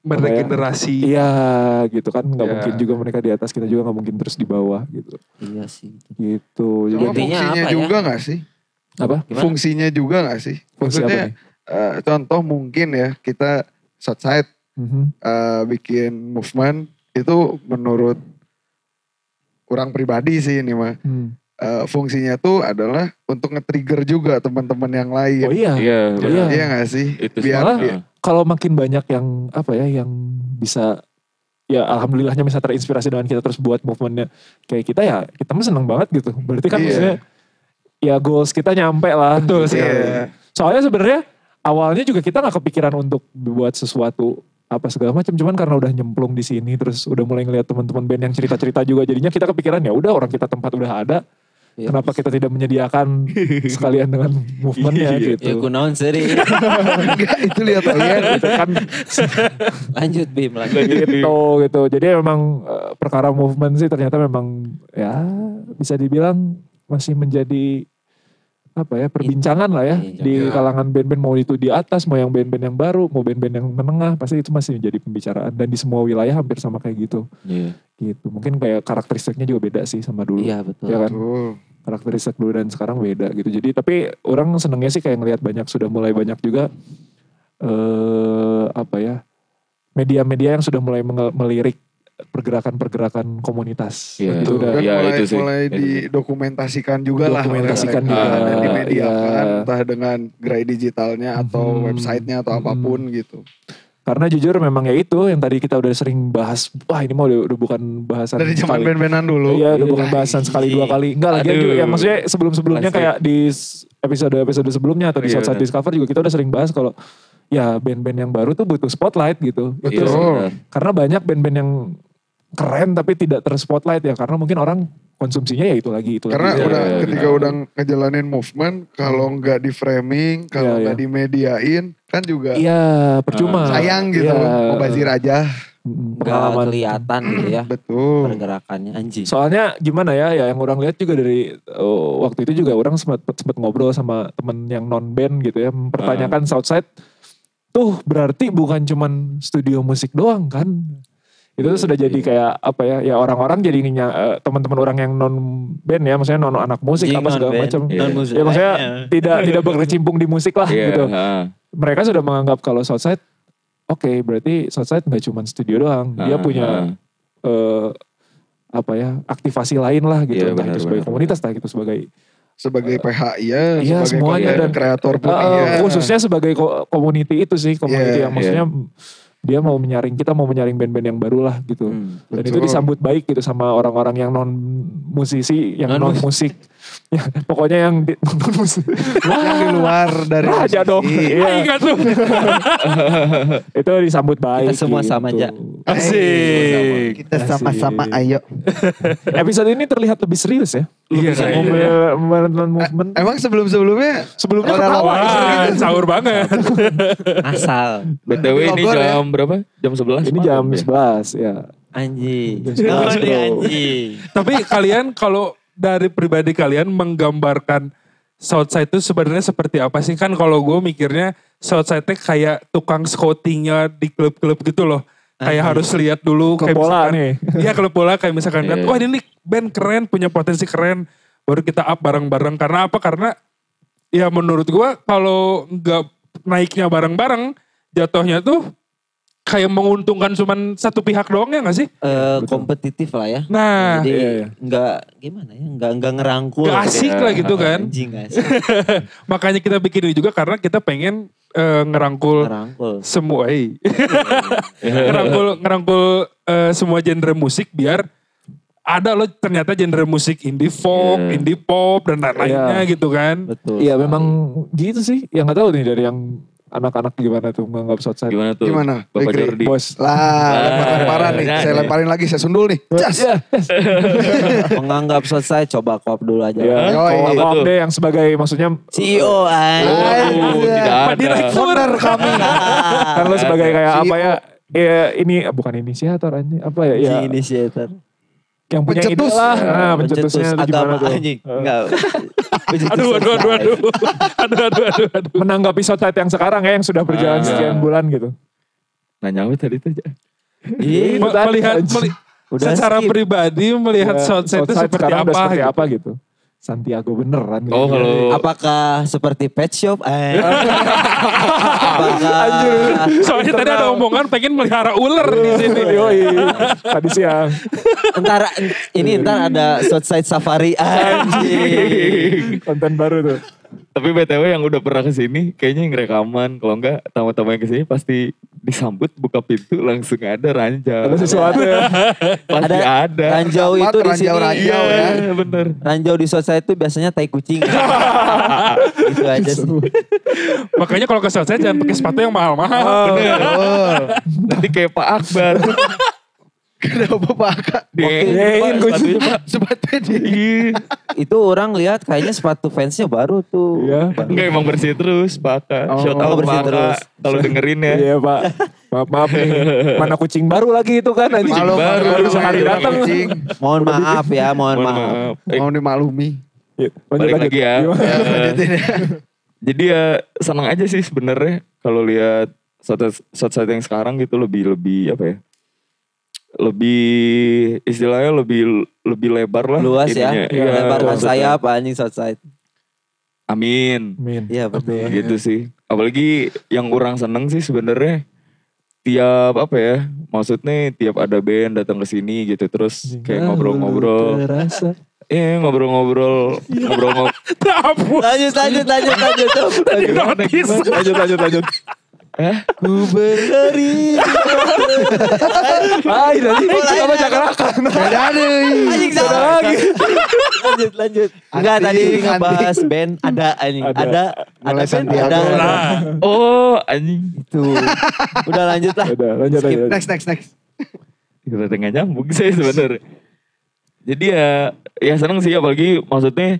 [SPEAKER 1] Berdegenerasi.
[SPEAKER 3] iya gitu kan nggak
[SPEAKER 1] Iya.
[SPEAKER 3] mungkin juga mereka di atas kita juga nggak mungkin terus di bawah gitu.
[SPEAKER 5] Iya sih.
[SPEAKER 3] Gitu. Jadi
[SPEAKER 6] Cuma
[SPEAKER 5] Intinya
[SPEAKER 6] fungsinya
[SPEAKER 5] apa ya?
[SPEAKER 6] juga nggak sih?
[SPEAKER 3] apa?
[SPEAKER 5] Gimana?
[SPEAKER 6] Fungsinya juga nggak sih?
[SPEAKER 3] Fungsi apa
[SPEAKER 6] Maksudnya
[SPEAKER 3] nih?
[SPEAKER 6] eh, contoh mungkin ya kita Southside
[SPEAKER 3] Mhm.
[SPEAKER 6] eh, bikin movement itu menurut orang pribadi sih ini mah
[SPEAKER 3] Hmm.
[SPEAKER 6] Eh, fungsinya tuh adalah untuk nge-trigger juga teman-teman yang lain.
[SPEAKER 3] Oh iya.
[SPEAKER 2] Iya. benar.
[SPEAKER 3] Iya.
[SPEAKER 6] Iya nggak sih?
[SPEAKER 2] Itu sih.
[SPEAKER 6] biar
[SPEAKER 3] Malah
[SPEAKER 6] dia-
[SPEAKER 3] kalau makin banyak yang apa ya yang bisa ya alhamdulillahnya bisa terinspirasi dengan kita terus buat movementnya kayak kita ya kita mah seneng banget gitu. Berarti kan
[SPEAKER 6] Iya.
[SPEAKER 3] maksudnya ya goals kita nyampe lah.
[SPEAKER 1] Betul
[SPEAKER 3] gitu.
[SPEAKER 1] sekali.
[SPEAKER 6] Iya.
[SPEAKER 3] Soalnya sebenarnya awalnya juga kita nggak kepikiran untuk buat sesuatu apa segala macam cuman karena udah nyemplung di sini terus udah mulai ngeliat teman-teman band yang cerita-cerita juga jadinya kita kepikiran ya udah orang kita tempat udah ada
[SPEAKER 5] Iya.
[SPEAKER 3] kenapa kita tidak menyediakan sekalian dengan movementnya
[SPEAKER 2] Iya.
[SPEAKER 5] Ya
[SPEAKER 3] gitu
[SPEAKER 5] kunaon seri.
[SPEAKER 6] Enggak, itu lihat kalian.
[SPEAKER 3] Gitu kan
[SPEAKER 5] Lanjut Bim lanjut.
[SPEAKER 3] gitu gitu jadi memang eh, perkara movement sih ternyata memang ya bisa dibilang masih menjadi apa ya perbincangan lah ya
[SPEAKER 5] Iya.
[SPEAKER 3] di kalangan band-band mau itu di atas mau yang band-band yang baru mau band-band yang menengah pasti itu masih menjadi pembicaraan dan di semua wilayah hampir sama kayak gitu
[SPEAKER 2] Iya.
[SPEAKER 3] gitu mungkin kayak karakteristiknya juga beda sih sama dulu
[SPEAKER 5] Iya betul.
[SPEAKER 3] ya kan
[SPEAKER 6] Betul.
[SPEAKER 3] karakteristik dulu dan sekarang beda gitu. Jadi tapi orang senengnya sih kayak ngelihat banyak sudah mulai banyak juga eh apa ya media-media yang sudah mulai menge- melirik pergerakan-pergerakan komunitas.
[SPEAKER 2] Iya.
[SPEAKER 3] Gitu, udah
[SPEAKER 6] Dan
[SPEAKER 2] Iya,
[SPEAKER 6] Kan mulai,
[SPEAKER 2] itu sih.
[SPEAKER 6] mulai
[SPEAKER 2] Itu sih.
[SPEAKER 6] didokumentasikan juga lah.
[SPEAKER 3] Dokumentasikan
[SPEAKER 6] oleh mereka.
[SPEAKER 2] juga,
[SPEAKER 6] Dan dimediakan
[SPEAKER 3] iya.
[SPEAKER 6] entah dengan gerai digitalnya atau
[SPEAKER 3] Mhm.
[SPEAKER 6] websitenya atau
[SPEAKER 3] Mhm.
[SPEAKER 6] apapun gitu.
[SPEAKER 3] Karena jujur memang ya itu yang tadi kita udah sering bahas. Wah ini mah udah, udah bukan bahasan
[SPEAKER 6] Dari zaman
[SPEAKER 3] sekali.
[SPEAKER 6] band-bandan dulu.
[SPEAKER 3] Iya, udah bukan bahasan sekali dua kali. Enggak lagi
[SPEAKER 2] Aduh.
[SPEAKER 3] ya maksudnya sebelum-sebelumnya
[SPEAKER 2] Plastik.
[SPEAKER 3] kayak di s- episode-episode sebelumnya atau di
[SPEAKER 2] Iya,
[SPEAKER 3] Southside
[SPEAKER 2] benar.
[SPEAKER 3] Discover juga kita udah sering bahas kalau ya band-band yang baru tuh butuh spotlight gitu.
[SPEAKER 2] Iya,
[SPEAKER 3] Itu
[SPEAKER 2] benar.
[SPEAKER 3] karena banyak band-band yang keren tapi tidak terspotlight ya karena mungkin orang konsumsinya ya itu lagi itu
[SPEAKER 6] Karena
[SPEAKER 3] lagi.
[SPEAKER 2] Iya,
[SPEAKER 6] udah
[SPEAKER 2] iya,
[SPEAKER 6] ketika
[SPEAKER 2] benar.
[SPEAKER 6] udah ngejalanin movement, kalau nggak di framing, kalau
[SPEAKER 3] Iya,
[SPEAKER 6] nggak
[SPEAKER 3] iya.
[SPEAKER 6] dimediain, kan juga
[SPEAKER 3] Iya, percuma.
[SPEAKER 6] sayang gitu.
[SPEAKER 3] Iya.
[SPEAKER 6] Mau bazir aja.
[SPEAKER 3] Mm,
[SPEAKER 5] Gak
[SPEAKER 3] pengalaman.
[SPEAKER 5] kelihatan gitu ya.
[SPEAKER 6] Betul.
[SPEAKER 5] Pergerakannya anjing.
[SPEAKER 3] Soalnya gimana ya, ya yang orang lihat juga dari oh, waktu itu juga orang sempat sempat ngobrol sama temen yang non band gitu ya, mempertanyakan Southside tuh berarti bukan cuman studio musik doang kan? Itu tuh sudah jadi kayak apa ya? Ya orang-orang jadi nginya, eh, teman-teman orang yang non band ya, maksudnya non anak musik
[SPEAKER 5] Anjing,
[SPEAKER 3] apa segala
[SPEAKER 5] non-band,
[SPEAKER 3] macam.
[SPEAKER 2] Iya.
[SPEAKER 5] non-musik.
[SPEAKER 3] Ya maksudnya tidak tidak berkecimpung di musik lah
[SPEAKER 2] Iya.
[SPEAKER 3] gitu.
[SPEAKER 2] heeh.
[SPEAKER 3] Mereka sudah menganggap kalau Southside oke, berarti Southside nggak cuman studio doang, dia
[SPEAKER 2] Heeh,
[SPEAKER 3] punya
[SPEAKER 2] heeh.
[SPEAKER 3] eh, apa ya aktivasi lain lah gitu
[SPEAKER 2] Iya,
[SPEAKER 3] entah
[SPEAKER 2] benar,
[SPEAKER 3] itu sebagai
[SPEAKER 2] benar,
[SPEAKER 3] komunitas entah itu sebagai
[SPEAKER 6] Sebagai PH iya,
[SPEAKER 3] iya,
[SPEAKER 6] sebagai
[SPEAKER 3] semuanya
[SPEAKER 6] konten
[SPEAKER 3] dan-
[SPEAKER 6] kreator pun
[SPEAKER 3] Eh,
[SPEAKER 6] iya.
[SPEAKER 3] khususnya sebagai ko- community itu sih community
[SPEAKER 6] Iya.
[SPEAKER 3] yang maksudnya dia mau menyaring kita mau menyaring band-band yang baru lah gitu
[SPEAKER 5] Hmm.
[SPEAKER 3] dan itu
[SPEAKER 6] Betul.
[SPEAKER 3] disambut baik gitu sama orang-orang yang non musisi yang non
[SPEAKER 5] Non-mus-
[SPEAKER 3] musik ya, pokoknya yang di, non musik
[SPEAKER 6] yang di luar dari
[SPEAKER 3] aja
[SPEAKER 6] musisi.
[SPEAKER 3] dong
[SPEAKER 1] Iya.
[SPEAKER 3] Iya,
[SPEAKER 1] tuh.
[SPEAKER 3] itu disambut baik
[SPEAKER 5] Kita semua sama,
[SPEAKER 3] gitu.
[SPEAKER 5] Ja.
[SPEAKER 3] Iya
[SPEAKER 1] Asik.
[SPEAKER 6] kita sama-sama ayo
[SPEAKER 3] episode ini terlihat lebih serius ya
[SPEAKER 1] Iya, iya,
[SPEAKER 3] Lebih serius. Movement- movement
[SPEAKER 6] Nah, emang sebelum-sebelumnya
[SPEAKER 3] sebelumnya
[SPEAKER 6] Orang
[SPEAKER 3] ketawa
[SPEAKER 6] lawan.
[SPEAKER 1] Wah, sahur banget.
[SPEAKER 5] Asal.
[SPEAKER 2] BTW ini
[SPEAKER 6] Bogor ya.
[SPEAKER 2] jam berapa? Jam 11
[SPEAKER 3] ini jam
[SPEAKER 2] malam ya?
[SPEAKER 3] 11 ya
[SPEAKER 5] Anji.
[SPEAKER 3] Jangan
[SPEAKER 5] Jangan
[SPEAKER 3] bro.
[SPEAKER 5] anji.
[SPEAKER 1] Tapi kalian kalau dari pribadi kalian menggambarkan Southside itu sebenarnya seperti apa sih? Kan kalau gue mikirnya Southside itu kayak tukang scoutingnya di klub-klub gitu loh. Kayak harus lihat dulu.
[SPEAKER 3] Ah, iya. Klub
[SPEAKER 1] kayak
[SPEAKER 3] bola
[SPEAKER 1] misalkan-
[SPEAKER 3] nih.
[SPEAKER 1] Iya klub bola kayak misalkan. kan,
[SPEAKER 2] Iya.
[SPEAKER 1] Wah ini nih band keren, punya potensi keren. Baru kita up bareng-bareng. Karena apa? Karena ya menurut gue kalau nggak naiknya bareng-bareng jatuhnya tuh kayak menguntungkan cuman satu pihak doang ya gak sih?
[SPEAKER 5] Eh, kompetitif lah ya.
[SPEAKER 1] Nah,
[SPEAKER 5] Jadi
[SPEAKER 3] iya, iya.
[SPEAKER 5] nggak gimana ya, nggak nggak ngerangkul.
[SPEAKER 1] Nggak asik lah gitu kan.
[SPEAKER 5] Anjing nggak asik.
[SPEAKER 1] Makanya kita bikin ini juga karena kita pengen eh, ngerangkul
[SPEAKER 5] Ngerangkul.
[SPEAKER 1] semua
[SPEAKER 3] Iya,
[SPEAKER 1] eh. ngerangkul ngerangkul eh, semua genre musik biar ada loh ternyata genre musik indie folk,
[SPEAKER 2] Iya.
[SPEAKER 1] indie pop dan lain-lainnya gitu kan.
[SPEAKER 5] Betul.
[SPEAKER 3] Iya memang gitu sih. Yang nggak tahu nih dari yang anak-anak gimana tuh menganggap Southside.
[SPEAKER 2] Gimana tuh?
[SPEAKER 6] Gimana,
[SPEAKER 2] Bapak
[SPEAKER 6] Fikri?
[SPEAKER 2] Jordi.
[SPEAKER 3] Bos.
[SPEAKER 6] lah lempar-lemparan nih
[SPEAKER 2] Nah,
[SPEAKER 6] saya
[SPEAKER 2] iya.
[SPEAKER 6] lemparin lagi saya sundul nih Cas.
[SPEAKER 3] Ya,
[SPEAKER 5] Menganggap selesai coba koop dulu aja.
[SPEAKER 3] ya.
[SPEAKER 6] Yoi.
[SPEAKER 3] Kalau
[SPEAKER 2] Apa
[SPEAKER 3] Om
[SPEAKER 2] tuh?
[SPEAKER 3] deh yang sebagai maksudnya
[SPEAKER 5] CEO anjing.
[SPEAKER 2] Oh,
[SPEAKER 6] Iya.
[SPEAKER 2] tidak
[SPEAKER 1] Pak
[SPEAKER 2] ada.
[SPEAKER 1] Direktur.
[SPEAKER 6] kami
[SPEAKER 3] kan lo sebagai kayak
[SPEAKER 6] CEO.
[SPEAKER 3] apa ya?
[SPEAKER 6] E
[SPEAKER 3] Ya ini bukan inisiator anjing apa ya? ya
[SPEAKER 5] Si inisiator.
[SPEAKER 3] yang punya ide
[SPEAKER 6] Pencetus.
[SPEAKER 3] lah. Nah, pencetusnya itu gimana
[SPEAKER 5] agama
[SPEAKER 3] tuh?
[SPEAKER 5] anjing. Enggak. Pencetus
[SPEAKER 1] Aduh, aduh, aduh,
[SPEAKER 5] selesai.
[SPEAKER 1] aduh, aduh, aduh, aduh, aduh.
[SPEAKER 3] Menanggapi Southside yang sekarang ya yang sudah berjalan
[SPEAKER 2] Ah.
[SPEAKER 3] sekian bulan gitu.
[SPEAKER 2] Nanya apa Nah, tadi tuh?
[SPEAKER 5] Iya.
[SPEAKER 1] Me-
[SPEAKER 3] tadi,
[SPEAKER 1] Melihat,
[SPEAKER 3] anjing.
[SPEAKER 1] meli-
[SPEAKER 5] Udah
[SPEAKER 1] secara
[SPEAKER 5] skip.
[SPEAKER 1] pribadi melihat
[SPEAKER 3] Ya,
[SPEAKER 1] Southside itu seperti
[SPEAKER 3] sekarang
[SPEAKER 1] apa?
[SPEAKER 3] udah seperti
[SPEAKER 1] gitu.
[SPEAKER 3] apa gitu. Santiago beneran. gitu.
[SPEAKER 2] Oh kalau
[SPEAKER 5] Apakah seperti pet shop? Eh. Apakah
[SPEAKER 2] Ah.
[SPEAKER 1] Soalnya tadi ada omongan pengen melihara ular di sini.
[SPEAKER 3] Yoi, tadi siang.
[SPEAKER 5] entar ini entar ada Southside Safari anjing.
[SPEAKER 3] Konten baru tuh.
[SPEAKER 2] tapi BTW yang udah pernah kesini kayaknya yang rekaman kalau enggak tamu-tamu yang kesini pasti disambut buka pintu langsung ada ranjau.
[SPEAKER 3] Ada sesuatu ya.
[SPEAKER 2] Pasti ada.
[SPEAKER 5] Ranjau itu di sini.
[SPEAKER 2] Iya,
[SPEAKER 6] Ranjau-ranjau ya.
[SPEAKER 2] bener.
[SPEAKER 5] Ranjau di Southside itu biasanya tai kucing. itu aja sih.
[SPEAKER 1] Makanya kalau ke Southside jangan pakai sepatu yang mahal-mahal.
[SPEAKER 2] Nanti kayak Pak Akbar.
[SPEAKER 6] Kenapa Pak Aka?
[SPEAKER 3] Yein,
[SPEAKER 2] Dia
[SPEAKER 3] kucing.
[SPEAKER 6] Sepatu di
[SPEAKER 2] Iya.
[SPEAKER 5] Itu orang lihat kayaknya sepatu fansnya baru tuh.
[SPEAKER 3] Iya.
[SPEAKER 2] Enggak emang bersih terus Pak Aka.
[SPEAKER 6] Oh,
[SPEAKER 2] Shout out
[SPEAKER 5] bersih
[SPEAKER 2] Pak Aka.
[SPEAKER 5] terus.
[SPEAKER 2] Kalau dengerin ya.
[SPEAKER 3] Iya pak. Maaf maaf nih. Mana kucing baru lagi itu kan anjing.
[SPEAKER 2] baru,
[SPEAKER 6] Malu
[SPEAKER 2] Iya,
[SPEAKER 6] malu,
[SPEAKER 2] baru sehari
[SPEAKER 6] malu,
[SPEAKER 2] datang.
[SPEAKER 6] kucing.
[SPEAKER 5] Mohon maaf ya, mohon
[SPEAKER 2] Mohon
[SPEAKER 5] maaf.
[SPEAKER 2] maaf. Eh,
[SPEAKER 6] Mau dimaklumi.
[SPEAKER 3] Yuk, Iya, lanjut,
[SPEAKER 2] balik
[SPEAKER 3] lanjut.
[SPEAKER 2] lagi ya.
[SPEAKER 3] Yuk.
[SPEAKER 2] Eh,
[SPEAKER 6] Lanjutin ya.
[SPEAKER 2] jadi ya senang aja sih sebenarnya kalau lihat saat-saat yang sekarang gitu lebih lebih apa ya? Lebih istilahnya lebih lebih lebar lah.
[SPEAKER 5] Luas ya. kan
[SPEAKER 2] ininya. Iya,
[SPEAKER 5] Lebarkan
[SPEAKER 2] maksudnya.
[SPEAKER 5] sayap anjing Southside.
[SPEAKER 2] Amin.
[SPEAKER 3] Min.
[SPEAKER 5] Iya betul.
[SPEAKER 2] gitu sih apalagi yang kurang seneng sih sebenarnya tiap apa ya maksudnya tiap ada band datang ke sini gitu terus kayak ngobrol-ngobrol
[SPEAKER 3] Terasa.
[SPEAKER 2] eh ngobrol-ngobrol ngobrol-ngobrol
[SPEAKER 3] Iya.
[SPEAKER 1] Ampun.
[SPEAKER 5] Lanjut, lanjut, lanjut, lanjut. lanjut.
[SPEAKER 1] Notis.
[SPEAKER 3] Lanjut lanjut lanjut.
[SPEAKER 2] eh
[SPEAKER 5] Ku berlari.
[SPEAKER 3] Hai tadi
[SPEAKER 5] lain,
[SPEAKER 3] apa
[SPEAKER 5] lain.
[SPEAKER 3] cakarakan?
[SPEAKER 6] Beda deh.
[SPEAKER 5] Anjing sama lagi. lanjut, lanjut. Enggak
[SPEAKER 6] Anjing,
[SPEAKER 5] tadi ngebahas band ada anjing,
[SPEAKER 3] Ada.
[SPEAKER 5] ada ada
[SPEAKER 6] Mulai
[SPEAKER 5] band
[SPEAKER 6] Santiago
[SPEAKER 5] ada.
[SPEAKER 6] lah.
[SPEAKER 5] ada.
[SPEAKER 1] Nah,
[SPEAKER 2] oh anjing
[SPEAKER 5] Itu. Udah lanjut lah.
[SPEAKER 3] Udah lanjut lanjut.
[SPEAKER 6] Next next next.
[SPEAKER 2] kita tengah nyambung sih sebenarnya jadi ya ya seneng sih apalagi maksudnya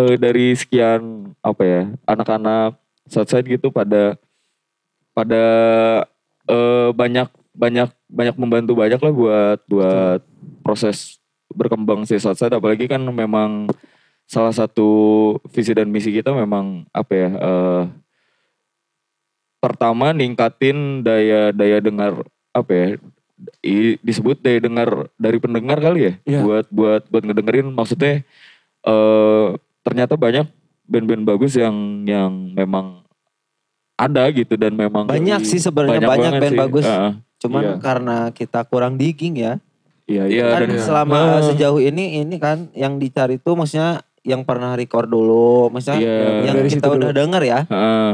[SPEAKER 2] eh, dari sekian apa ya anak-anak Southside gitu pada pada eh, banyak banyak banyak membantu banyak lah buat buat proses berkembang si Southside apalagi kan memang salah satu visi dan misi kita memang apa ya eh, pertama ningkatin daya daya dengar apa ya i- disebut daya dengar dari pendengar kali ya
[SPEAKER 3] Iya.
[SPEAKER 2] buat buat buat ngedengerin maksudnya eh ternyata banyak band-band bagus yang yang memang ada gitu dan memang
[SPEAKER 5] Banyak sih sebenarnya, banyak
[SPEAKER 2] banget
[SPEAKER 5] band
[SPEAKER 2] sih.
[SPEAKER 5] bagus.
[SPEAKER 2] Heeh.
[SPEAKER 5] Cuman
[SPEAKER 3] Iya.
[SPEAKER 5] karena kita kurang digging ya.
[SPEAKER 3] Iya
[SPEAKER 2] Iya,
[SPEAKER 5] kan
[SPEAKER 2] dan
[SPEAKER 5] selama
[SPEAKER 2] Ah.
[SPEAKER 5] sejauh ini ini kan yang dicari tuh maksudnya yang pernah record dulu, maksudnya
[SPEAKER 2] Iya.
[SPEAKER 5] yang
[SPEAKER 3] Dari
[SPEAKER 5] kita
[SPEAKER 3] situ
[SPEAKER 5] udah denger ya.
[SPEAKER 2] Heeh.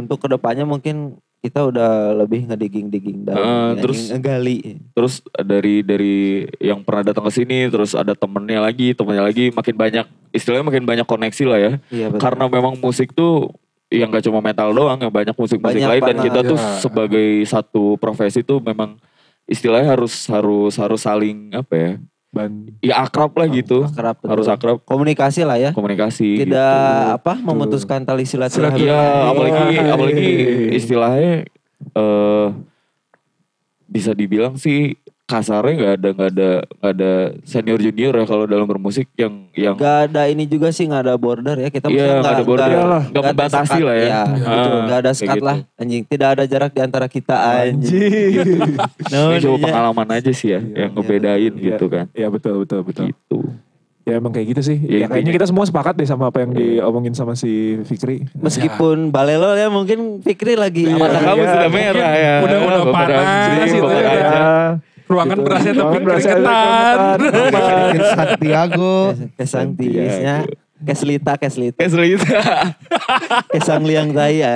[SPEAKER 5] Untuk kedepannya mungkin kita udah lebih ngedigging-digging dan
[SPEAKER 2] Eh, terus-
[SPEAKER 5] ngegali.
[SPEAKER 2] terus dari dari yang pernah datang ke sini terus ada temennya lagi temennya lagi makin banyak istilahnya makin banyak koneksi lah ya
[SPEAKER 5] Iya betul.
[SPEAKER 2] karena memang musik tuh yang gak cuma metal doang yang banyak musik-musik
[SPEAKER 5] Banyak
[SPEAKER 2] lain dan
[SPEAKER 5] banget.
[SPEAKER 2] kita tuh
[SPEAKER 1] Ya.
[SPEAKER 2] sebagai satu profesi tuh memang istilahnya harus harus harus saling apa ya
[SPEAKER 3] Ban.
[SPEAKER 2] ya akrab lah gitu
[SPEAKER 5] akrab, betul.
[SPEAKER 2] harus akrab
[SPEAKER 5] komunikasi lah ya. Tidak
[SPEAKER 2] komunikasi gitu.
[SPEAKER 5] apa memutuskan tali silaturahmi.
[SPEAKER 2] Iya, apalagi
[SPEAKER 3] Hai.
[SPEAKER 2] apalagi istilahnya eh bisa dibilang sih kasarnya nggak ada nggak ada nggak ada senior junior ya kalau dalam bermusik yang yang
[SPEAKER 5] Gak ada ini juga sih gak ada border ya kita maksudnya
[SPEAKER 2] Iya, nggak ada border.
[SPEAKER 5] nggak-
[SPEAKER 2] Iyalah. Nggak
[SPEAKER 5] nggak ada
[SPEAKER 2] membatasi
[SPEAKER 5] sekat,
[SPEAKER 2] lah ya.
[SPEAKER 5] iya,
[SPEAKER 2] Ah,
[SPEAKER 5] betul. Nggak ada
[SPEAKER 2] kayak
[SPEAKER 5] sekat
[SPEAKER 2] gitu. Iya.
[SPEAKER 5] lah anjing tidak ada jarak di antara kita anjing
[SPEAKER 3] Anjing.
[SPEAKER 5] Nah,
[SPEAKER 2] ini cuma
[SPEAKER 5] iya.
[SPEAKER 2] pengalaman aja sih ya yang ngebedain
[SPEAKER 3] Iya.
[SPEAKER 2] gitu kan
[SPEAKER 3] ya betul betul betul.
[SPEAKER 2] gitu
[SPEAKER 3] Ya emang kayak gitu sih. Ya,
[SPEAKER 2] Ya,
[SPEAKER 3] kayaknya
[SPEAKER 2] intinya.
[SPEAKER 3] kita semua sepakat deh sama apa yang
[SPEAKER 2] Iya.
[SPEAKER 3] diomongin sama si Fikri.
[SPEAKER 5] meskipun balelo ya mungkin Fikri lagi
[SPEAKER 2] mata
[SPEAKER 5] amat-
[SPEAKER 2] kamu sudah merah ya
[SPEAKER 1] udah-udah
[SPEAKER 2] Bapak
[SPEAKER 1] panas
[SPEAKER 2] Ramzi,
[SPEAKER 1] gitu
[SPEAKER 2] Bapak
[SPEAKER 1] ya.
[SPEAKER 2] Raja.
[SPEAKER 1] Ruangan
[SPEAKER 5] Kan
[SPEAKER 3] Gitu.
[SPEAKER 1] berasnya tapi
[SPEAKER 3] Ruangan berasnya tapi
[SPEAKER 1] keringetan.
[SPEAKER 3] keringetan.
[SPEAKER 7] Bikin Santiago.
[SPEAKER 2] Iya,
[SPEAKER 5] Kesantisnya Keslita, keslita,
[SPEAKER 2] Kayak serius.
[SPEAKER 5] kesang liang tai ya.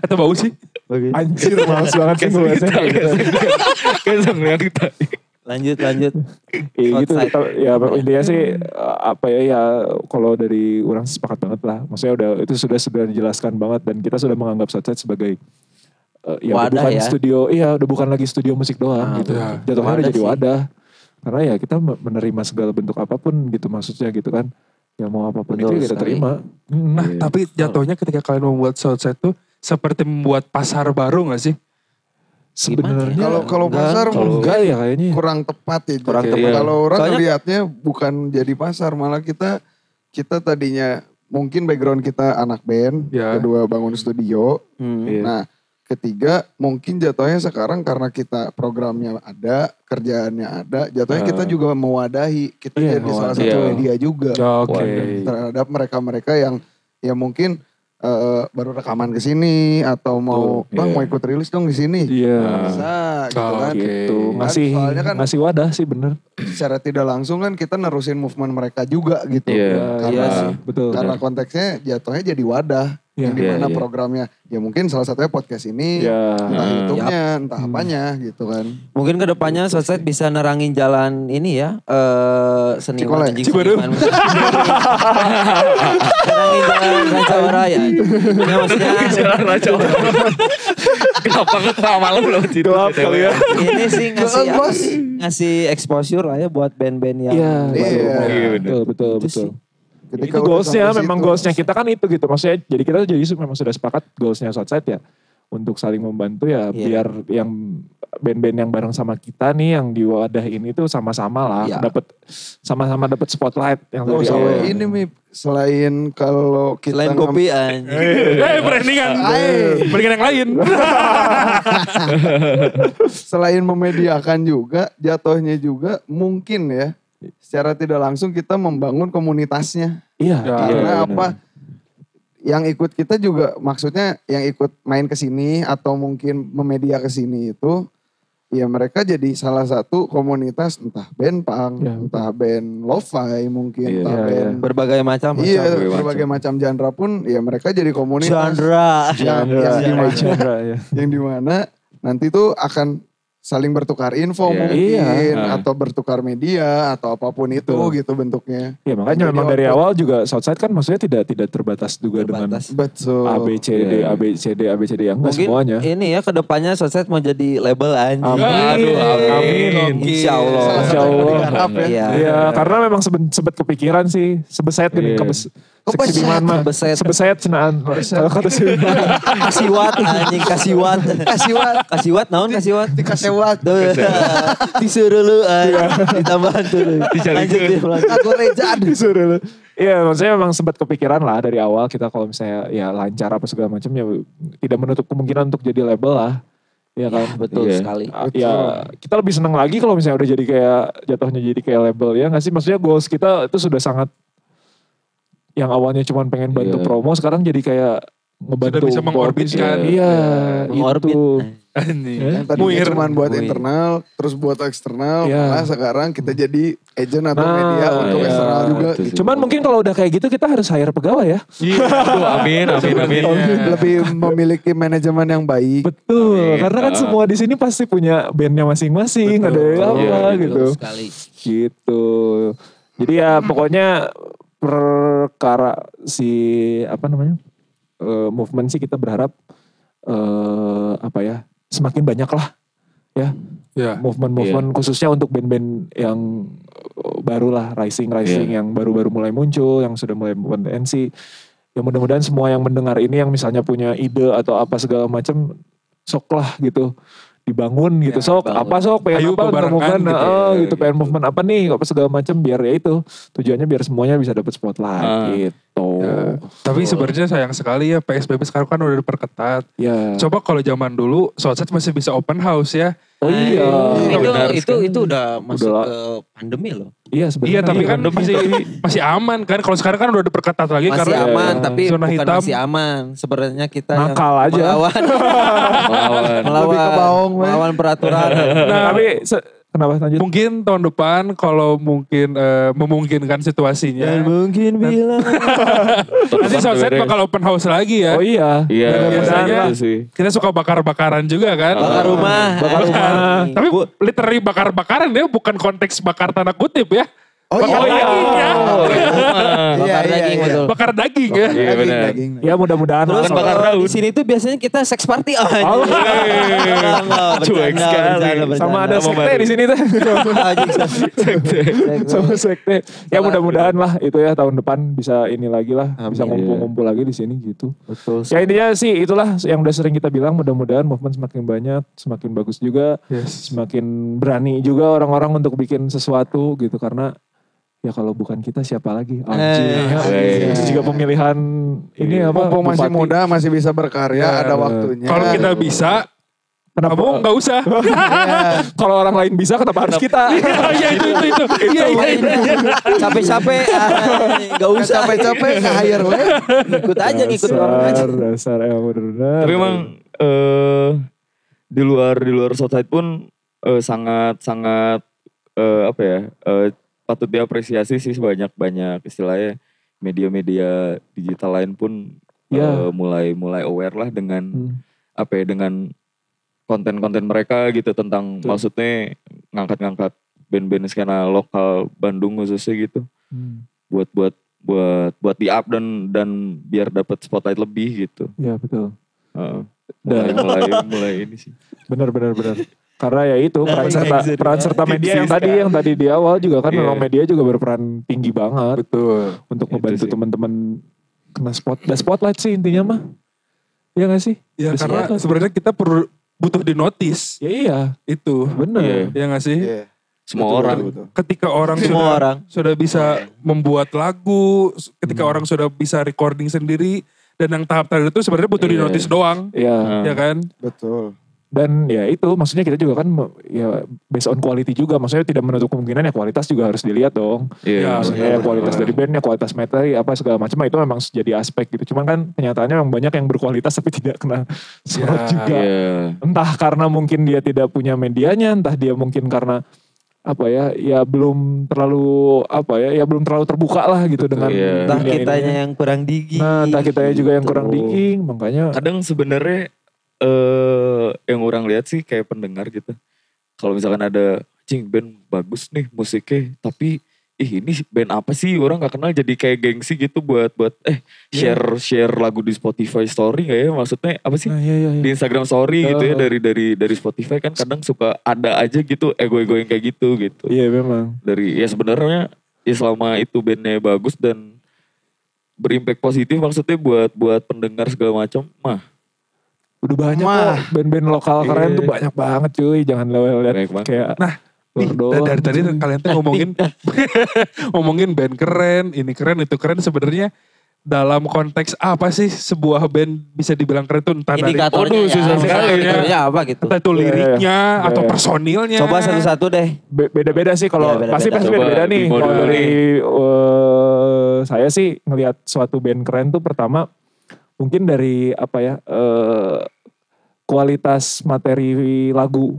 [SPEAKER 1] Atau bau sih.
[SPEAKER 3] Anjir males banget sih
[SPEAKER 2] Kayak serius.
[SPEAKER 3] ngebahasnya kayak gitu.
[SPEAKER 2] Kayak serius.
[SPEAKER 5] Lanjut, lanjut.
[SPEAKER 3] Iya gitu.
[SPEAKER 5] Outside.
[SPEAKER 3] kita- Ya intinya sih eh, apa ya ya kalau dari orang sih sepakat banget lah. Maksudnya udah itu sudah sudah dijelaskan banget dan kita sudah menganggap Southside sebagai eh, ya udah
[SPEAKER 5] Wadah
[SPEAKER 3] bukan
[SPEAKER 5] ya.
[SPEAKER 3] studio iya udah bukan lagi studio musik doang
[SPEAKER 5] Ah,
[SPEAKER 3] gitu.
[SPEAKER 1] iya.
[SPEAKER 3] Jatuhnya udah
[SPEAKER 5] Wadah
[SPEAKER 3] jadi
[SPEAKER 5] sih.
[SPEAKER 3] wadah. Karena ya kita me- menerima segala bentuk apapun gitu maksudnya gitu kan. Ya mau apapun
[SPEAKER 5] Betul
[SPEAKER 3] itu ya kita
[SPEAKER 5] sekali. ya?
[SPEAKER 3] terima. Hmm.
[SPEAKER 1] Nah, tapi jatuhnya ketika kalian membuat Southside tuh seperti membuat pasar baru gak sih?
[SPEAKER 3] sebenarnya
[SPEAKER 6] Kalau kalau pasar
[SPEAKER 3] enggak ya kayaknya.
[SPEAKER 6] kurang tepat ya.
[SPEAKER 3] Kurang
[SPEAKER 6] Jadi,
[SPEAKER 2] tepat.
[SPEAKER 6] Kalau orang
[SPEAKER 5] Soalnya-
[SPEAKER 6] lihatnya bukan jadi pasar, malah kita kita tadinya mungkin background kita anak band,
[SPEAKER 1] Ya.
[SPEAKER 6] kedua bangun studio.
[SPEAKER 5] Hmm.
[SPEAKER 3] Iya.
[SPEAKER 6] Nah, ketiga mungkin jatuhnya sekarang karena kita programnya ada, kerjaannya ada, jatuhnya kita juga mewadahi. Kita
[SPEAKER 3] Iya,
[SPEAKER 6] jadi salah
[SPEAKER 2] mewadahi.
[SPEAKER 6] satu
[SPEAKER 2] Iya.
[SPEAKER 6] media juga
[SPEAKER 1] Oke.
[SPEAKER 6] Iya. terhadap mereka-mereka yang ya mungkin eh, baru rekaman ke sini atau mau
[SPEAKER 2] Betul,
[SPEAKER 6] bang
[SPEAKER 2] iya.
[SPEAKER 6] mau ikut rilis dong di sini.
[SPEAKER 3] Iya.
[SPEAKER 6] Bisa gitu kan.
[SPEAKER 1] Oke.
[SPEAKER 3] Gitu.
[SPEAKER 1] Kan
[SPEAKER 3] Ngasih
[SPEAKER 6] soalnya kan-
[SPEAKER 3] ngasih wadah sih bener.
[SPEAKER 6] Secara tidak langsung kan kita nerusin movement mereka juga gitu.
[SPEAKER 2] Iya.
[SPEAKER 6] Karena,
[SPEAKER 5] Iya sih.
[SPEAKER 3] Betul.
[SPEAKER 6] karena konteksnya jatuhnya jadi wadah.
[SPEAKER 3] Iya.
[SPEAKER 6] Yang dimana
[SPEAKER 2] Iya, iya.
[SPEAKER 6] programnya ya mungkin salah satunya podcast ini.
[SPEAKER 3] Ya.
[SPEAKER 6] Entah
[SPEAKER 2] Hmm.
[SPEAKER 6] YouTube-nya,
[SPEAKER 5] Iya.
[SPEAKER 6] entah apanya gitu kan.
[SPEAKER 5] Mungkin kedepannya Southside bisa nerangin jalan ini ya. eh seniman
[SPEAKER 6] Cikole.
[SPEAKER 5] anjing
[SPEAKER 1] Cibaru.
[SPEAKER 5] seniman. nerangin jalan Rancau Raya. Ya, maksudnya
[SPEAKER 2] Jalan Raja Orang. Kenapa ketawa malam belum tidur?
[SPEAKER 3] Gelap kali ya.
[SPEAKER 5] ini sih ngasih
[SPEAKER 6] Jangan, Bos.
[SPEAKER 5] ngasih exposure lah ya buat band-band yang
[SPEAKER 3] Iya.
[SPEAKER 6] Iya.
[SPEAKER 2] Iya, bener.
[SPEAKER 3] Betul, betul,
[SPEAKER 5] Itu
[SPEAKER 3] betul.
[SPEAKER 5] sih.
[SPEAKER 6] Ketika
[SPEAKER 3] Itu
[SPEAKER 6] udah
[SPEAKER 3] goalsnya,
[SPEAKER 6] sampai
[SPEAKER 3] memang
[SPEAKER 6] situ.
[SPEAKER 3] goalsnya kita kan itu gitu. Maksudnya jadi kita jadi memang sudah sepakat goalsnya Southside ya. Untuk saling membantu ya
[SPEAKER 5] Iya.
[SPEAKER 3] biar yang band-band yang bareng sama kita nih yang di wadah ini tuh sama-sama lah
[SPEAKER 5] Iya.
[SPEAKER 3] dapat sama-sama dapat spotlight yang
[SPEAKER 6] Oh,
[SPEAKER 3] tadi
[SPEAKER 6] sama
[SPEAKER 3] awal.
[SPEAKER 6] ini Mi, selain kalau kita
[SPEAKER 5] selain
[SPEAKER 6] ngam-
[SPEAKER 5] kopi anjing.
[SPEAKER 1] Eh,
[SPEAKER 3] Iya,
[SPEAKER 1] brandingan. Brandingan yang lain.
[SPEAKER 6] selain memediakan juga, jatuhnya juga mungkin ya secara tidak langsung kita membangun komunitasnya.
[SPEAKER 3] Iya.
[SPEAKER 1] Ya.
[SPEAKER 6] Karena
[SPEAKER 2] benar.
[SPEAKER 6] apa? Yang ikut kita juga maksudnya yang ikut main ke sini atau mungkin memedia ke sini itu ya mereka jadi salah satu komunitas entah band punk,
[SPEAKER 3] Ya,
[SPEAKER 6] entah band lo-fi mungkin,
[SPEAKER 2] Iya.
[SPEAKER 6] entah
[SPEAKER 3] Iya,
[SPEAKER 6] band
[SPEAKER 5] Berbagai macam.
[SPEAKER 6] Iya,
[SPEAKER 2] berbagai macam.
[SPEAKER 6] berbagai macam genre pun ya mereka jadi komunitas.
[SPEAKER 5] Genre.
[SPEAKER 6] Yang,
[SPEAKER 3] Chandra,
[SPEAKER 6] yang di mana-
[SPEAKER 3] Chandra, ya.
[SPEAKER 6] yang di mana nanti tuh akan saling bertukar
[SPEAKER 2] Iya.
[SPEAKER 6] info mungkin
[SPEAKER 2] Iya.
[SPEAKER 6] atau bertukar media atau apapun itu
[SPEAKER 3] Betul.
[SPEAKER 6] gitu bentuknya.
[SPEAKER 3] Ya makanya
[SPEAKER 6] Jadi
[SPEAKER 3] memang dari
[SPEAKER 6] output.
[SPEAKER 3] awal juga Southside kan maksudnya tidak tidak terbatas juga
[SPEAKER 5] Berbatas.
[SPEAKER 6] Betul.
[SPEAKER 3] dengan A B C D
[SPEAKER 2] Iya.
[SPEAKER 3] A B C D A B C D ya enggak
[SPEAKER 5] Mungkin
[SPEAKER 3] semuanya.
[SPEAKER 5] ini ya kedepannya Sunset mau jadi label anjing.
[SPEAKER 3] Amin.
[SPEAKER 2] Aduh, amin.
[SPEAKER 5] Insya Allah.
[SPEAKER 6] Salah
[SPEAKER 3] Insya
[SPEAKER 6] satu yang
[SPEAKER 3] Allah.
[SPEAKER 6] digarap ya.
[SPEAKER 5] Iya.
[SPEAKER 3] Iya, karena memang sebet, sebet kepikiran sih, sebeset gini
[SPEAKER 2] Iya.
[SPEAKER 3] kebes,
[SPEAKER 5] Kebeset,
[SPEAKER 3] seksidiman mah,
[SPEAKER 5] kebeset.
[SPEAKER 3] sebeset cenaan. Kalau kata si
[SPEAKER 5] Kasiwat anjing kasiwat. Kasiwat. Kasiwat naon kasiwat?
[SPEAKER 6] Dikasewat.
[SPEAKER 5] Tuh. Disuruh lu anjing. Ditambahan tuh. lu. Lanjut
[SPEAKER 2] Dicariin.
[SPEAKER 5] dia lanjut.
[SPEAKER 6] Aku Reza.
[SPEAKER 3] disuruh lu. Iya, maksudnya memang sempat kepikiran lah dari awal kita kalau misalnya ya lancar apa segala macam ya tidak menutup kemungkinan untuk jadi label lah. Iya kan?
[SPEAKER 5] Betul
[SPEAKER 2] Iya.
[SPEAKER 5] sekali.
[SPEAKER 3] Ya kita lebih senang lagi kalau misalnya udah jadi kayak jatuhnya jadi kayak label ya nggak sih? Maksudnya goals kita itu sudah sangat yang awalnya cuma pengen bantu
[SPEAKER 2] Iya.
[SPEAKER 3] promo sekarang jadi kayak ngebantu
[SPEAKER 1] Sudah bisa mengorbitkan.
[SPEAKER 3] Iya,
[SPEAKER 2] Iya.
[SPEAKER 3] itu.
[SPEAKER 5] Mengorbit.
[SPEAKER 1] Anjing.
[SPEAKER 6] Yang tadinya
[SPEAKER 1] Muir.
[SPEAKER 6] cuma buat
[SPEAKER 5] Muir.
[SPEAKER 6] internal, terus buat eksternal,
[SPEAKER 3] Iya.
[SPEAKER 6] malah sekarang kita jadi agent atau
[SPEAKER 3] Nah,
[SPEAKER 6] media untuk
[SPEAKER 3] iya.
[SPEAKER 6] eksternal juga. gitu.
[SPEAKER 2] Betul sih.
[SPEAKER 3] Cuman mungkin kalau udah kayak gitu kita harus hire pegawai ya.
[SPEAKER 1] Iya.
[SPEAKER 2] Aduh, amin, amin, amin.
[SPEAKER 1] Iya.
[SPEAKER 6] Lebih- Lebih memiliki manajemen yang baik. Iya.
[SPEAKER 3] Betul,
[SPEAKER 2] Amin.
[SPEAKER 3] karena kan
[SPEAKER 2] Ah.
[SPEAKER 3] semua di sini pasti punya bandnya masing-masing, ada yang apa
[SPEAKER 2] Iya,
[SPEAKER 3] gitu.
[SPEAKER 5] Betul sekali.
[SPEAKER 3] Gitu. Jadi ya pokoknya perkara si apa namanya? eh, movement sih kita berharap eh apa ya? Semakin banyak lah ya
[SPEAKER 1] Iya.
[SPEAKER 3] movement-movement khususnya untuk band-band yang eh, baru lah rising rising
[SPEAKER 1] Iya.
[SPEAKER 3] yang baru-baru mulai muncul yang sudah mulai potensi ya mudah-mudahan semua yang mendengar ini yang misalnya punya ide atau apa segala macam sok lah gitu dibangun gitu
[SPEAKER 5] Ya,
[SPEAKER 3] sok
[SPEAKER 5] bangun.
[SPEAKER 3] apa sok pengen
[SPEAKER 1] Ayo
[SPEAKER 3] apa
[SPEAKER 1] bebarengan
[SPEAKER 3] movement
[SPEAKER 1] gitu
[SPEAKER 3] gitu,
[SPEAKER 1] ya,
[SPEAKER 3] gitu pengen movement apa nih apa segala macam biar ya itu tujuannya biar semuanya bisa dapat spotlight
[SPEAKER 2] Ah.
[SPEAKER 3] gitu
[SPEAKER 1] Ya, Tapi sebenarnya sayang sekali ya PSBB sekarang kan udah diperketat.
[SPEAKER 3] ya
[SPEAKER 1] Coba kalau zaman dulu Soundset masih bisa open house ya.
[SPEAKER 3] oh iya
[SPEAKER 5] Itu
[SPEAKER 2] benar
[SPEAKER 5] itu
[SPEAKER 2] sekali.
[SPEAKER 5] itu udah masuk
[SPEAKER 3] Udah.
[SPEAKER 5] ke pandemi loh.
[SPEAKER 3] iya sebenarnya
[SPEAKER 1] Iya tapi
[SPEAKER 2] Iya,
[SPEAKER 1] kan
[SPEAKER 2] pandemi.
[SPEAKER 1] masih masih aman kan. Kalau sekarang kan udah diperketat lagi
[SPEAKER 5] Masih
[SPEAKER 1] karena iya.
[SPEAKER 5] aman tapi
[SPEAKER 1] zona
[SPEAKER 5] bukan
[SPEAKER 1] hitam.
[SPEAKER 5] masih aman. Sebenarnya kita
[SPEAKER 3] Nakal
[SPEAKER 5] yang
[SPEAKER 3] aja.
[SPEAKER 5] melawan
[SPEAKER 2] Melawan.
[SPEAKER 5] melawan
[SPEAKER 6] ke bawong, weh.
[SPEAKER 5] melawan peraturan.
[SPEAKER 1] Nah,
[SPEAKER 3] tapi se- kenapa lanjut
[SPEAKER 1] mungkin tahun depan kalau mungkin eh, memungkinkan situasinya.
[SPEAKER 5] mungkin bilang
[SPEAKER 1] Nanti Soundset bakal open house lagi ya.
[SPEAKER 3] oh iya
[SPEAKER 2] Iya,
[SPEAKER 1] Biasanya-
[SPEAKER 2] itu sih.
[SPEAKER 1] Kita suka bakar-bakaran juga kan.
[SPEAKER 5] bakar rumah.
[SPEAKER 3] Bakar rumah.
[SPEAKER 1] Tapi literally bakar-bakaran ya bukan konteks bakar tanah kutip ya.
[SPEAKER 6] Oh
[SPEAKER 1] bakar
[SPEAKER 6] iya.
[SPEAKER 1] daging ya.
[SPEAKER 6] Iya,
[SPEAKER 5] Bakar
[SPEAKER 6] iya,
[SPEAKER 5] daging
[SPEAKER 6] iya.
[SPEAKER 5] betul.
[SPEAKER 1] bakar daging ya.
[SPEAKER 2] Iya,
[SPEAKER 6] Daging,
[SPEAKER 2] benar.
[SPEAKER 6] daging.
[SPEAKER 3] Ya mudah-mudahan lah.
[SPEAKER 5] Terus
[SPEAKER 2] Bukan bakar
[SPEAKER 5] kalau
[SPEAKER 2] daun.
[SPEAKER 5] di sini tuh biasanya kita seks party oh, anjing. Iya, Enggak,
[SPEAKER 2] Cuek
[SPEAKER 5] bercanda,
[SPEAKER 2] sekali.
[SPEAKER 5] bercanda, bercanda.
[SPEAKER 3] sama ada
[SPEAKER 2] Sama
[SPEAKER 3] sekte
[SPEAKER 2] baru.
[SPEAKER 3] di sini tuh.
[SPEAKER 5] Anjing,
[SPEAKER 3] sama sekte. Ya mudah-mudahan lah itu ya tahun depan bisa ini lagi lah, bisa ngumpul-ngumpul lagi di sini gitu.
[SPEAKER 5] Betul.
[SPEAKER 3] Ya intinya sih itulah yang udah sering kita bilang mudah-mudahan movement semakin banyak, semakin bagus juga,
[SPEAKER 1] Yes.
[SPEAKER 3] semakin berani juga orang-orang untuk bikin sesuatu gitu karena ya kalau bukan kita siapa lagi? Anjing.
[SPEAKER 2] Eh.
[SPEAKER 3] Itu juga pemilihan ini apa?
[SPEAKER 6] Iya. Mumpung
[SPEAKER 3] bupati.
[SPEAKER 6] masih muda, masih bisa berkarya,
[SPEAKER 1] Ya,
[SPEAKER 6] ada waktunya.
[SPEAKER 1] Kalau kita bisa,
[SPEAKER 3] Kenapa-
[SPEAKER 1] kamu nggak usah.
[SPEAKER 3] Kalau orang lain bisa kenapa harus kita?
[SPEAKER 1] Iya itu itu itu. Iya iya itu.
[SPEAKER 5] Capek-capek, anjing, nggak
[SPEAKER 6] Nggak
[SPEAKER 5] usah.
[SPEAKER 6] capek-capek ke hire we.
[SPEAKER 5] Ikut aja, ngikut orang aja.
[SPEAKER 3] Iya, dasar, dasar ya, emang bener-bener.
[SPEAKER 2] Tapi emang eh, di luar di luar Southside pun eh, sangat sangat eh, apa ya eh, patut diapresiasi sih sebanyak banyak istilahnya media-media digital lain pun eh,
[SPEAKER 3] Iya.
[SPEAKER 2] mulai mulai aware lah dengan
[SPEAKER 3] Hmm.
[SPEAKER 2] apa ya dengan konten-konten mereka gitu tentang maksudnya ngangkat-ngangkat band-band skena lokal Bandung khususnya gitu
[SPEAKER 3] Hmm.
[SPEAKER 2] buat buat buat buat di up dan dan biar dapat spotlight lebih gitu.
[SPEAKER 3] Ya betul.
[SPEAKER 2] Heeh. mulai
[SPEAKER 3] Dan-
[SPEAKER 2] mulai mulai ini sih.
[SPEAKER 3] Benar benar benar. Karena ya itu peran serta peran serta media yang
[SPEAKER 2] Sisa.
[SPEAKER 3] tadi yang tadi di awal juga kan
[SPEAKER 2] Iya.
[SPEAKER 3] memang media juga berperan tinggi banget
[SPEAKER 1] Betul.
[SPEAKER 3] untuk
[SPEAKER 2] Itu
[SPEAKER 3] membantu
[SPEAKER 2] sih.
[SPEAKER 3] teman-teman kena spot dan spotlight sih intinya mah. Iya gak sih?
[SPEAKER 1] Ya
[SPEAKER 3] Ada
[SPEAKER 1] karena
[SPEAKER 3] spotlight.
[SPEAKER 1] sebenarnya kita perlu butuh di notice
[SPEAKER 3] ya iya,
[SPEAKER 1] itu.
[SPEAKER 3] benar.
[SPEAKER 2] Iya.
[SPEAKER 1] Ya nggak sih?
[SPEAKER 6] Iya.
[SPEAKER 2] Semua
[SPEAKER 6] Betul,
[SPEAKER 2] orang.
[SPEAKER 6] betul, betul.
[SPEAKER 1] Ketika orang
[SPEAKER 5] Semua
[SPEAKER 1] sudah
[SPEAKER 5] orang.
[SPEAKER 1] sudah bisa membuat lagu, s- ketika orang sudah bisa recording sendiri dan yang tahap terakhir itu sebenarnya butuh di
[SPEAKER 2] Iya.
[SPEAKER 1] notice doang.
[SPEAKER 3] Iya.
[SPEAKER 2] Heeh.
[SPEAKER 1] Ya kan?
[SPEAKER 6] Betul.
[SPEAKER 3] Dan ya itu maksudnya kita juga kan ya based on quality juga. Maksudnya tidak menutup kemungkinan ya kualitas juga harus dilihat dong.
[SPEAKER 2] Iya.
[SPEAKER 1] Ya,
[SPEAKER 3] Maksudnya
[SPEAKER 1] benar,
[SPEAKER 3] ya, kualitas
[SPEAKER 1] benar.
[SPEAKER 3] dari bandnya, kualitas materi, apa segala macam nah, itu memang jadi aspek gitu. Cuman kan kenyataannya memang banyak yang berkualitas tapi tidak kena
[SPEAKER 1] Ya,
[SPEAKER 3] sorot juga.
[SPEAKER 2] Iya.
[SPEAKER 3] Entah karena mungkin dia tidak punya medianya, entah dia mungkin karena apa ya, ya belum terlalu apa ya, ya belum terlalu terbuka lah gitu dengan
[SPEAKER 2] iya.
[SPEAKER 3] dunia
[SPEAKER 5] Entah
[SPEAKER 3] ini.
[SPEAKER 5] kitanya yang kurang digi.
[SPEAKER 3] Nah, entah kitanya juga yang kurang digging, makanya
[SPEAKER 2] Kadang sebenarnya eh yang orang lihat sih kayak pendengar gitu. Kalau misalkan ada cing band bagus nih musiknya, tapi ih ini band apa sih orang nggak kenal jadi kayak gengsi gitu buat buat eh share share lagu di Spotify story kayak ya maksudnya apa sih?
[SPEAKER 3] Nah, iya, iya, iya.
[SPEAKER 2] di Instagram story gitu ya
[SPEAKER 3] Heeh.
[SPEAKER 2] dari dari dari Spotify kan kadang suka ada aja gitu ego-ego yang kayak gitu gitu.
[SPEAKER 3] Iya memang.
[SPEAKER 2] dari ya sebenarnya ya selama itu bandnya bagus dan berimpact positif maksudnya buat buat pendengar segala macam mah
[SPEAKER 3] Udah banyak
[SPEAKER 6] Mah.
[SPEAKER 3] kok band-band lokal keren
[SPEAKER 2] Iya.
[SPEAKER 3] tuh banyak banget cuy. Jangan lihat
[SPEAKER 2] Banyak banget.
[SPEAKER 3] kayak
[SPEAKER 1] Nah,
[SPEAKER 3] luar
[SPEAKER 1] Nih,
[SPEAKER 3] doang,
[SPEAKER 1] dari tadi
[SPEAKER 3] cuy.
[SPEAKER 1] kalian tuh ngomongin ngomongin band keren, ini keren, itu keren sebenarnya dalam konteks apa sih sebuah band bisa dibilang keren tuh entah dari
[SPEAKER 5] Indikatornya
[SPEAKER 1] Aduh,
[SPEAKER 5] ya,
[SPEAKER 1] susah sekali ya.
[SPEAKER 5] indikatornya apa gitu.
[SPEAKER 1] entah itu
[SPEAKER 3] Iya, iya, iya.
[SPEAKER 1] liriknya
[SPEAKER 3] Iya,
[SPEAKER 1] atau
[SPEAKER 3] iya.
[SPEAKER 1] personilnya.
[SPEAKER 5] Coba satu-satu deh.
[SPEAKER 3] Be- beda-beda sih kalau
[SPEAKER 5] Iya, beda-beda.
[SPEAKER 3] pasti pasti
[SPEAKER 2] Coba
[SPEAKER 3] beda-beda nih.
[SPEAKER 2] Bimo
[SPEAKER 3] Kalau
[SPEAKER 2] dulu
[SPEAKER 3] dari
[SPEAKER 2] nih.
[SPEAKER 3] eh, saya sih ngelihat suatu band keren tuh pertama mungkin dari apa ya eh, kualitas materi lagu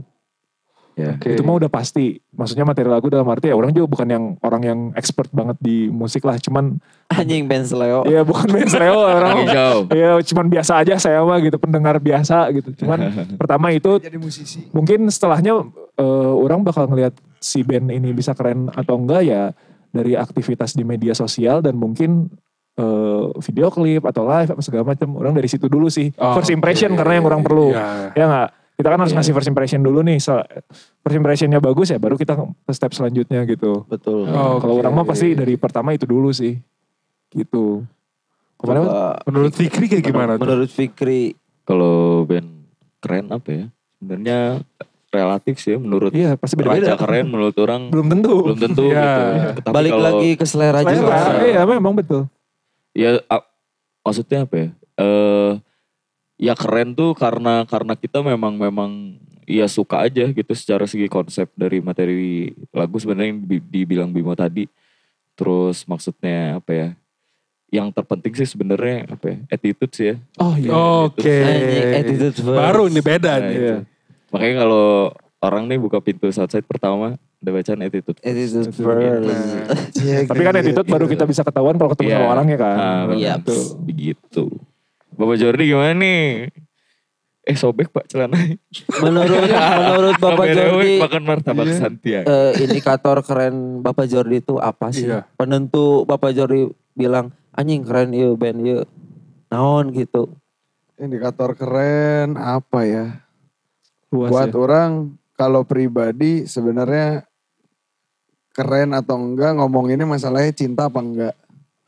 [SPEAKER 2] Ya.
[SPEAKER 3] itu mah udah pasti maksudnya materi lagu dalam arti ya orang juga bukan yang orang yang expert banget di musik lah cuman
[SPEAKER 5] Anjing Ben Sleo.
[SPEAKER 3] ya bukan main stereo orang
[SPEAKER 2] Jauh.
[SPEAKER 3] ya cuman biasa aja saya mah gitu pendengar biasa gitu cuman pertama itu
[SPEAKER 6] jadi musisi
[SPEAKER 3] mungkin setelahnya eh, orang bakal ngelihat si band ini bisa keren atau enggak ya dari aktivitas di media sosial dan mungkin eh, video klip atau live apa segala macam orang dari situ dulu sih
[SPEAKER 1] Oh,
[SPEAKER 3] first impression
[SPEAKER 1] oke.
[SPEAKER 3] karena yang orang perlu
[SPEAKER 1] Iya.
[SPEAKER 3] ya nggak kita kan harus
[SPEAKER 2] Iya.
[SPEAKER 3] ngasih first impression dulu nih so, first impressionnya bagus ya baru kita ke step selanjutnya gitu
[SPEAKER 5] Betul.
[SPEAKER 1] Oh,
[SPEAKER 3] kalau
[SPEAKER 1] oke.
[SPEAKER 3] orang mah pasti dari pertama itu dulu sih gitu kemarin
[SPEAKER 5] Coba-
[SPEAKER 1] Menurut Fikri kayak gimana tuh?
[SPEAKER 5] Menurut Fikri
[SPEAKER 2] Nah, Kalau band keren apa ya? Sebenarnya relatif sih menurut
[SPEAKER 3] iya pasti
[SPEAKER 2] raja
[SPEAKER 3] beda-beda
[SPEAKER 2] keren menurut orang
[SPEAKER 3] belum tentu
[SPEAKER 2] belum tentu
[SPEAKER 1] Iya.
[SPEAKER 2] gitu. Tapi
[SPEAKER 5] balik
[SPEAKER 2] kalau-
[SPEAKER 5] lagi ke selera
[SPEAKER 3] Selera,
[SPEAKER 5] juga.
[SPEAKER 3] iya memang betul
[SPEAKER 2] Ya a- maksudnya apa ya? Eh ya keren tuh karena karena kita memang memang ya suka aja gitu secara segi konsep dari materi lagu sebenarnya yang di- dibilang Bimo tadi. Terus maksudnya apa ya? Yang terpenting sih sebenarnya apa ya? Attitude sih ya.
[SPEAKER 3] oh iya
[SPEAKER 1] Oke.
[SPEAKER 5] Anjing, Nah, attitude first. iya.
[SPEAKER 1] Baru ini beda
[SPEAKER 2] Nah,
[SPEAKER 1] nih.
[SPEAKER 2] itu. Makanya kalau orang nih buka pintu Southside pertama udah bacaan attitude.
[SPEAKER 5] Attitude
[SPEAKER 3] Attitude
[SPEAKER 5] first.
[SPEAKER 3] Tapi kan attitude baru kita bisa ketahuan kalau ketemu
[SPEAKER 2] Iya.
[SPEAKER 3] sama orangnya kan.
[SPEAKER 2] Ah,
[SPEAKER 5] Iya.
[SPEAKER 2] betul. Begitu. Bapak Jordi gimana nih? Eh sobek pak celana.
[SPEAKER 5] Menurut menurut
[SPEAKER 2] Oh,
[SPEAKER 5] Bapak Jordi
[SPEAKER 2] Makan martabak
[SPEAKER 6] Iya.
[SPEAKER 2] ya? Santiago.
[SPEAKER 5] eh, indikator keren Bapak Jordi itu apa sih?
[SPEAKER 1] Iya.
[SPEAKER 5] Penentu Bapak Jordi bilang anjing keren yuk band yuk. Naon gitu.
[SPEAKER 6] indikator keren apa ya
[SPEAKER 3] Luas ya.
[SPEAKER 6] buat orang kalau pribadi sebenarnya keren atau enggak ngomonginnya masalahnya cinta apa enggak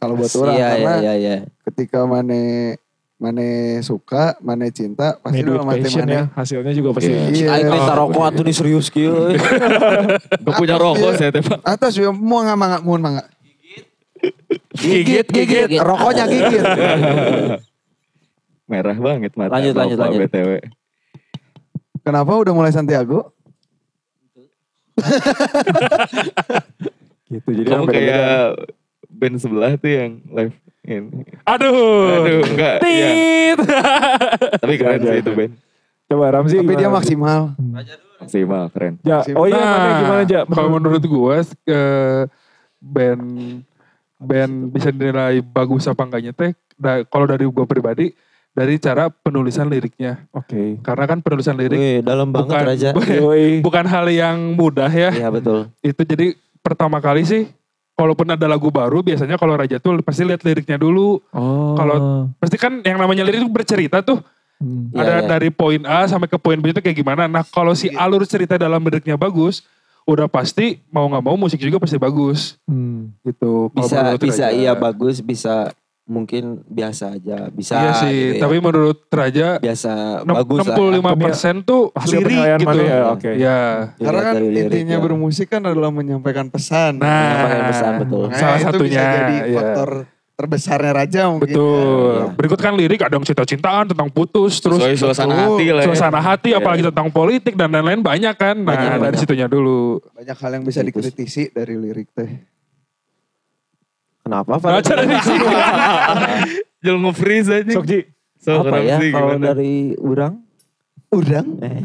[SPEAKER 6] kalau buat orang
[SPEAKER 5] Iya
[SPEAKER 6] karena
[SPEAKER 5] iya iya. iya.
[SPEAKER 6] ketika mane mane suka mane cinta pasti
[SPEAKER 3] Ini duit
[SPEAKER 6] dalam hati
[SPEAKER 3] passion
[SPEAKER 6] mane
[SPEAKER 3] ya. Hasilnya juga pasti.
[SPEAKER 2] Iya.
[SPEAKER 6] iya
[SPEAKER 5] Aing minta rokok atuh nih serius kieu. Eh,
[SPEAKER 2] Gak punya rokok saya
[SPEAKER 6] Iya.
[SPEAKER 2] teh pak.
[SPEAKER 6] atas ya mau nggak mangga mau mangga
[SPEAKER 5] Gigit gigit.
[SPEAKER 6] rokoknya gigit
[SPEAKER 2] Merah banget mata.
[SPEAKER 5] Lanjut,
[SPEAKER 2] Bapak
[SPEAKER 5] lanjut, lanjut.
[SPEAKER 2] BTW.
[SPEAKER 6] kenapa udah mulai Santiago
[SPEAKER 3] Gitu. Jadi
[SPEAKER 2] Kamu
[SPEAKER 3] orang beda-beda.
[SPEAKER 2] kayak band sebelah tuh yang live ini.
[SPEAKER 1] Aduh.
[SPEAKER 2] Aduh enggak. Iya.
[SPEAKER 1] Tit.
[SPEAKER 2] Tapi keren sih itu band.
[SPEAKER 3] Coba Ramzi.
[SPEAKER 6] tapi dia
[SPEAKER 3] gimana?
[SPEAKER 6] maksimal
[SPEAKER 2] Maksimal keren.
[SPEAKER 3] Ja, Oh iya,
[SPEAKER 1] Nah,
[SPEAKER 3] mana gimana aja?
[SPEAKER 1] Kalau menurut gue band band bisa dinilai bagus apa enggaknya teh da- kalau dari gue pribadi dari cara penulisan liriknya.
[SPEAKER 3] Oke.
[SPEAKER 1] Karena kan penulisan lirik
[SPEAKER 5] Wih, dalam banget
[SPEAKER 1] bukan
[SPEAKER 5] Raja.
[SPEAKER 3] Yoi.
[SPEAKER 1] bukan hal yang mudah ya.
[SPEAKER 5] Iya betul.
[SPEAKER 1] itu jadi pertama kali sih kalaupun ada lagu baru biasanya kalau Raja tuh pasti lihat liriknya dulu
[SPEAKER 3] Oh.
[SPEAKER 1] Kalau- pasti kan yang namanya lirik itu bercerita tuh
[SPEAKER 3] Hmm.
[SPEAKER 5] Iya,
[SPEAKER 1] ada
[SPEAKER 5] iya.
[SPEAKER 1] dari poin A sampai ke poin B itu kayak gimana nah kalau si alur cerita dalam liriknya bagus udah pasti mau nggak mau musik juga pasti bagus
[SPEAKER 3] Hmm.
[SPEAKER 1] gitu Kalau
[SPEAKER 5] Bisa
[SPEAKER 1] menurut
[SPEAKER 5] bisa
[SPEAKER 1] Raja.
[SPEAKER 5] iya bagus bisa mungkin biasa aja bisa
[SPEAKER 1] iya sih
[SPEAKER 5] gitu ya.
[SPEAKER 1] tapi menurut Raja
[SPEAKER 5] biasa
[SPEAKER 1] nem-
[SPEAKER 5] bagus lah.
[SPEAKER 1] 65% tuh
[SPEAKER 3] Hasil penilaian
[SPEAKER 1] lirik gitu
[SPEAKER 3] mana ya?
[SPEAKER 1] ya,
[SPEAKER 3] Oke.
[SPEAKER 5] Dilihat
[SPEAKER 6] Karena kan
[SPEAKER 5] dari lirik,
[SPEAKER 6] intinya
[SPEAKER 5] ya.
[SPEAKER 6] bermusik kan adalah menyampaikan pesan.
[SPEAKER 1] nah
[SPEAKER 5] Penyampaian pesan, betul.
[SPEAKER 3] Nah,
[SPEAKER 6] Makanya
[SPEAKER 1] salah
[SPEAKER 6] Nah, itu
[SPEAKER 1] satunya
[SPEAKER 6] bisa jadi
[SPEAKER 1] iya.
[SPEAKER 6] faktor terbesarnya raja mungkin. ya.
[SPEAKER 3] gitu
[SPEAKER 1] Betul.
[SPEAKER 3] ya.
[SPEAKER 5] Iya.
[SPEAKER 1] Berikut kan lirik ada yang cinta-cintaan tentang putus, terus
[SPEAKER 2] Soalnya suasana
[SPEAKER 1] betul,
[SPEAKER 2] hati lah ya.
[SPEAKER 1] Suasana hati
[SPEAKER 2] Iya.
[SPEAKER 1] apalagi tentang politik dan lain-lain banyak kan. Nah,
[SPEAKER 5] Banyak,
[SPEAKER 1] dari
[SPEAKER 5] banyak.
[SPEAKER 1] situnya dulu. Nah,
[SPEAKER 6] ya. Banyak hal yang bisa
[SPEAKER 5] Gitu sih.
[SPEAKER 6] dikritisi dari lirik teh.
[SPEAKER 5] Kenapa Pak?
[SPEAKER 1] Baca dari sini.
[SPEAKER 2] Jangan nge-freeze aja.
[SPEAKER 3] Sok Ji.
[SPEAKER 2] So,
[SPEAKER 5] apa
[SPEAKER 2] keren
[SPEAKER 5] ya
[SPEAKER 2] sih,
[SPEAKER 5] kalau
[SPEAKER 2] gimana?
[SPEAKER 5] dari orang
[SPEAKER 6] Udang.
[SPEAKER 5] eh,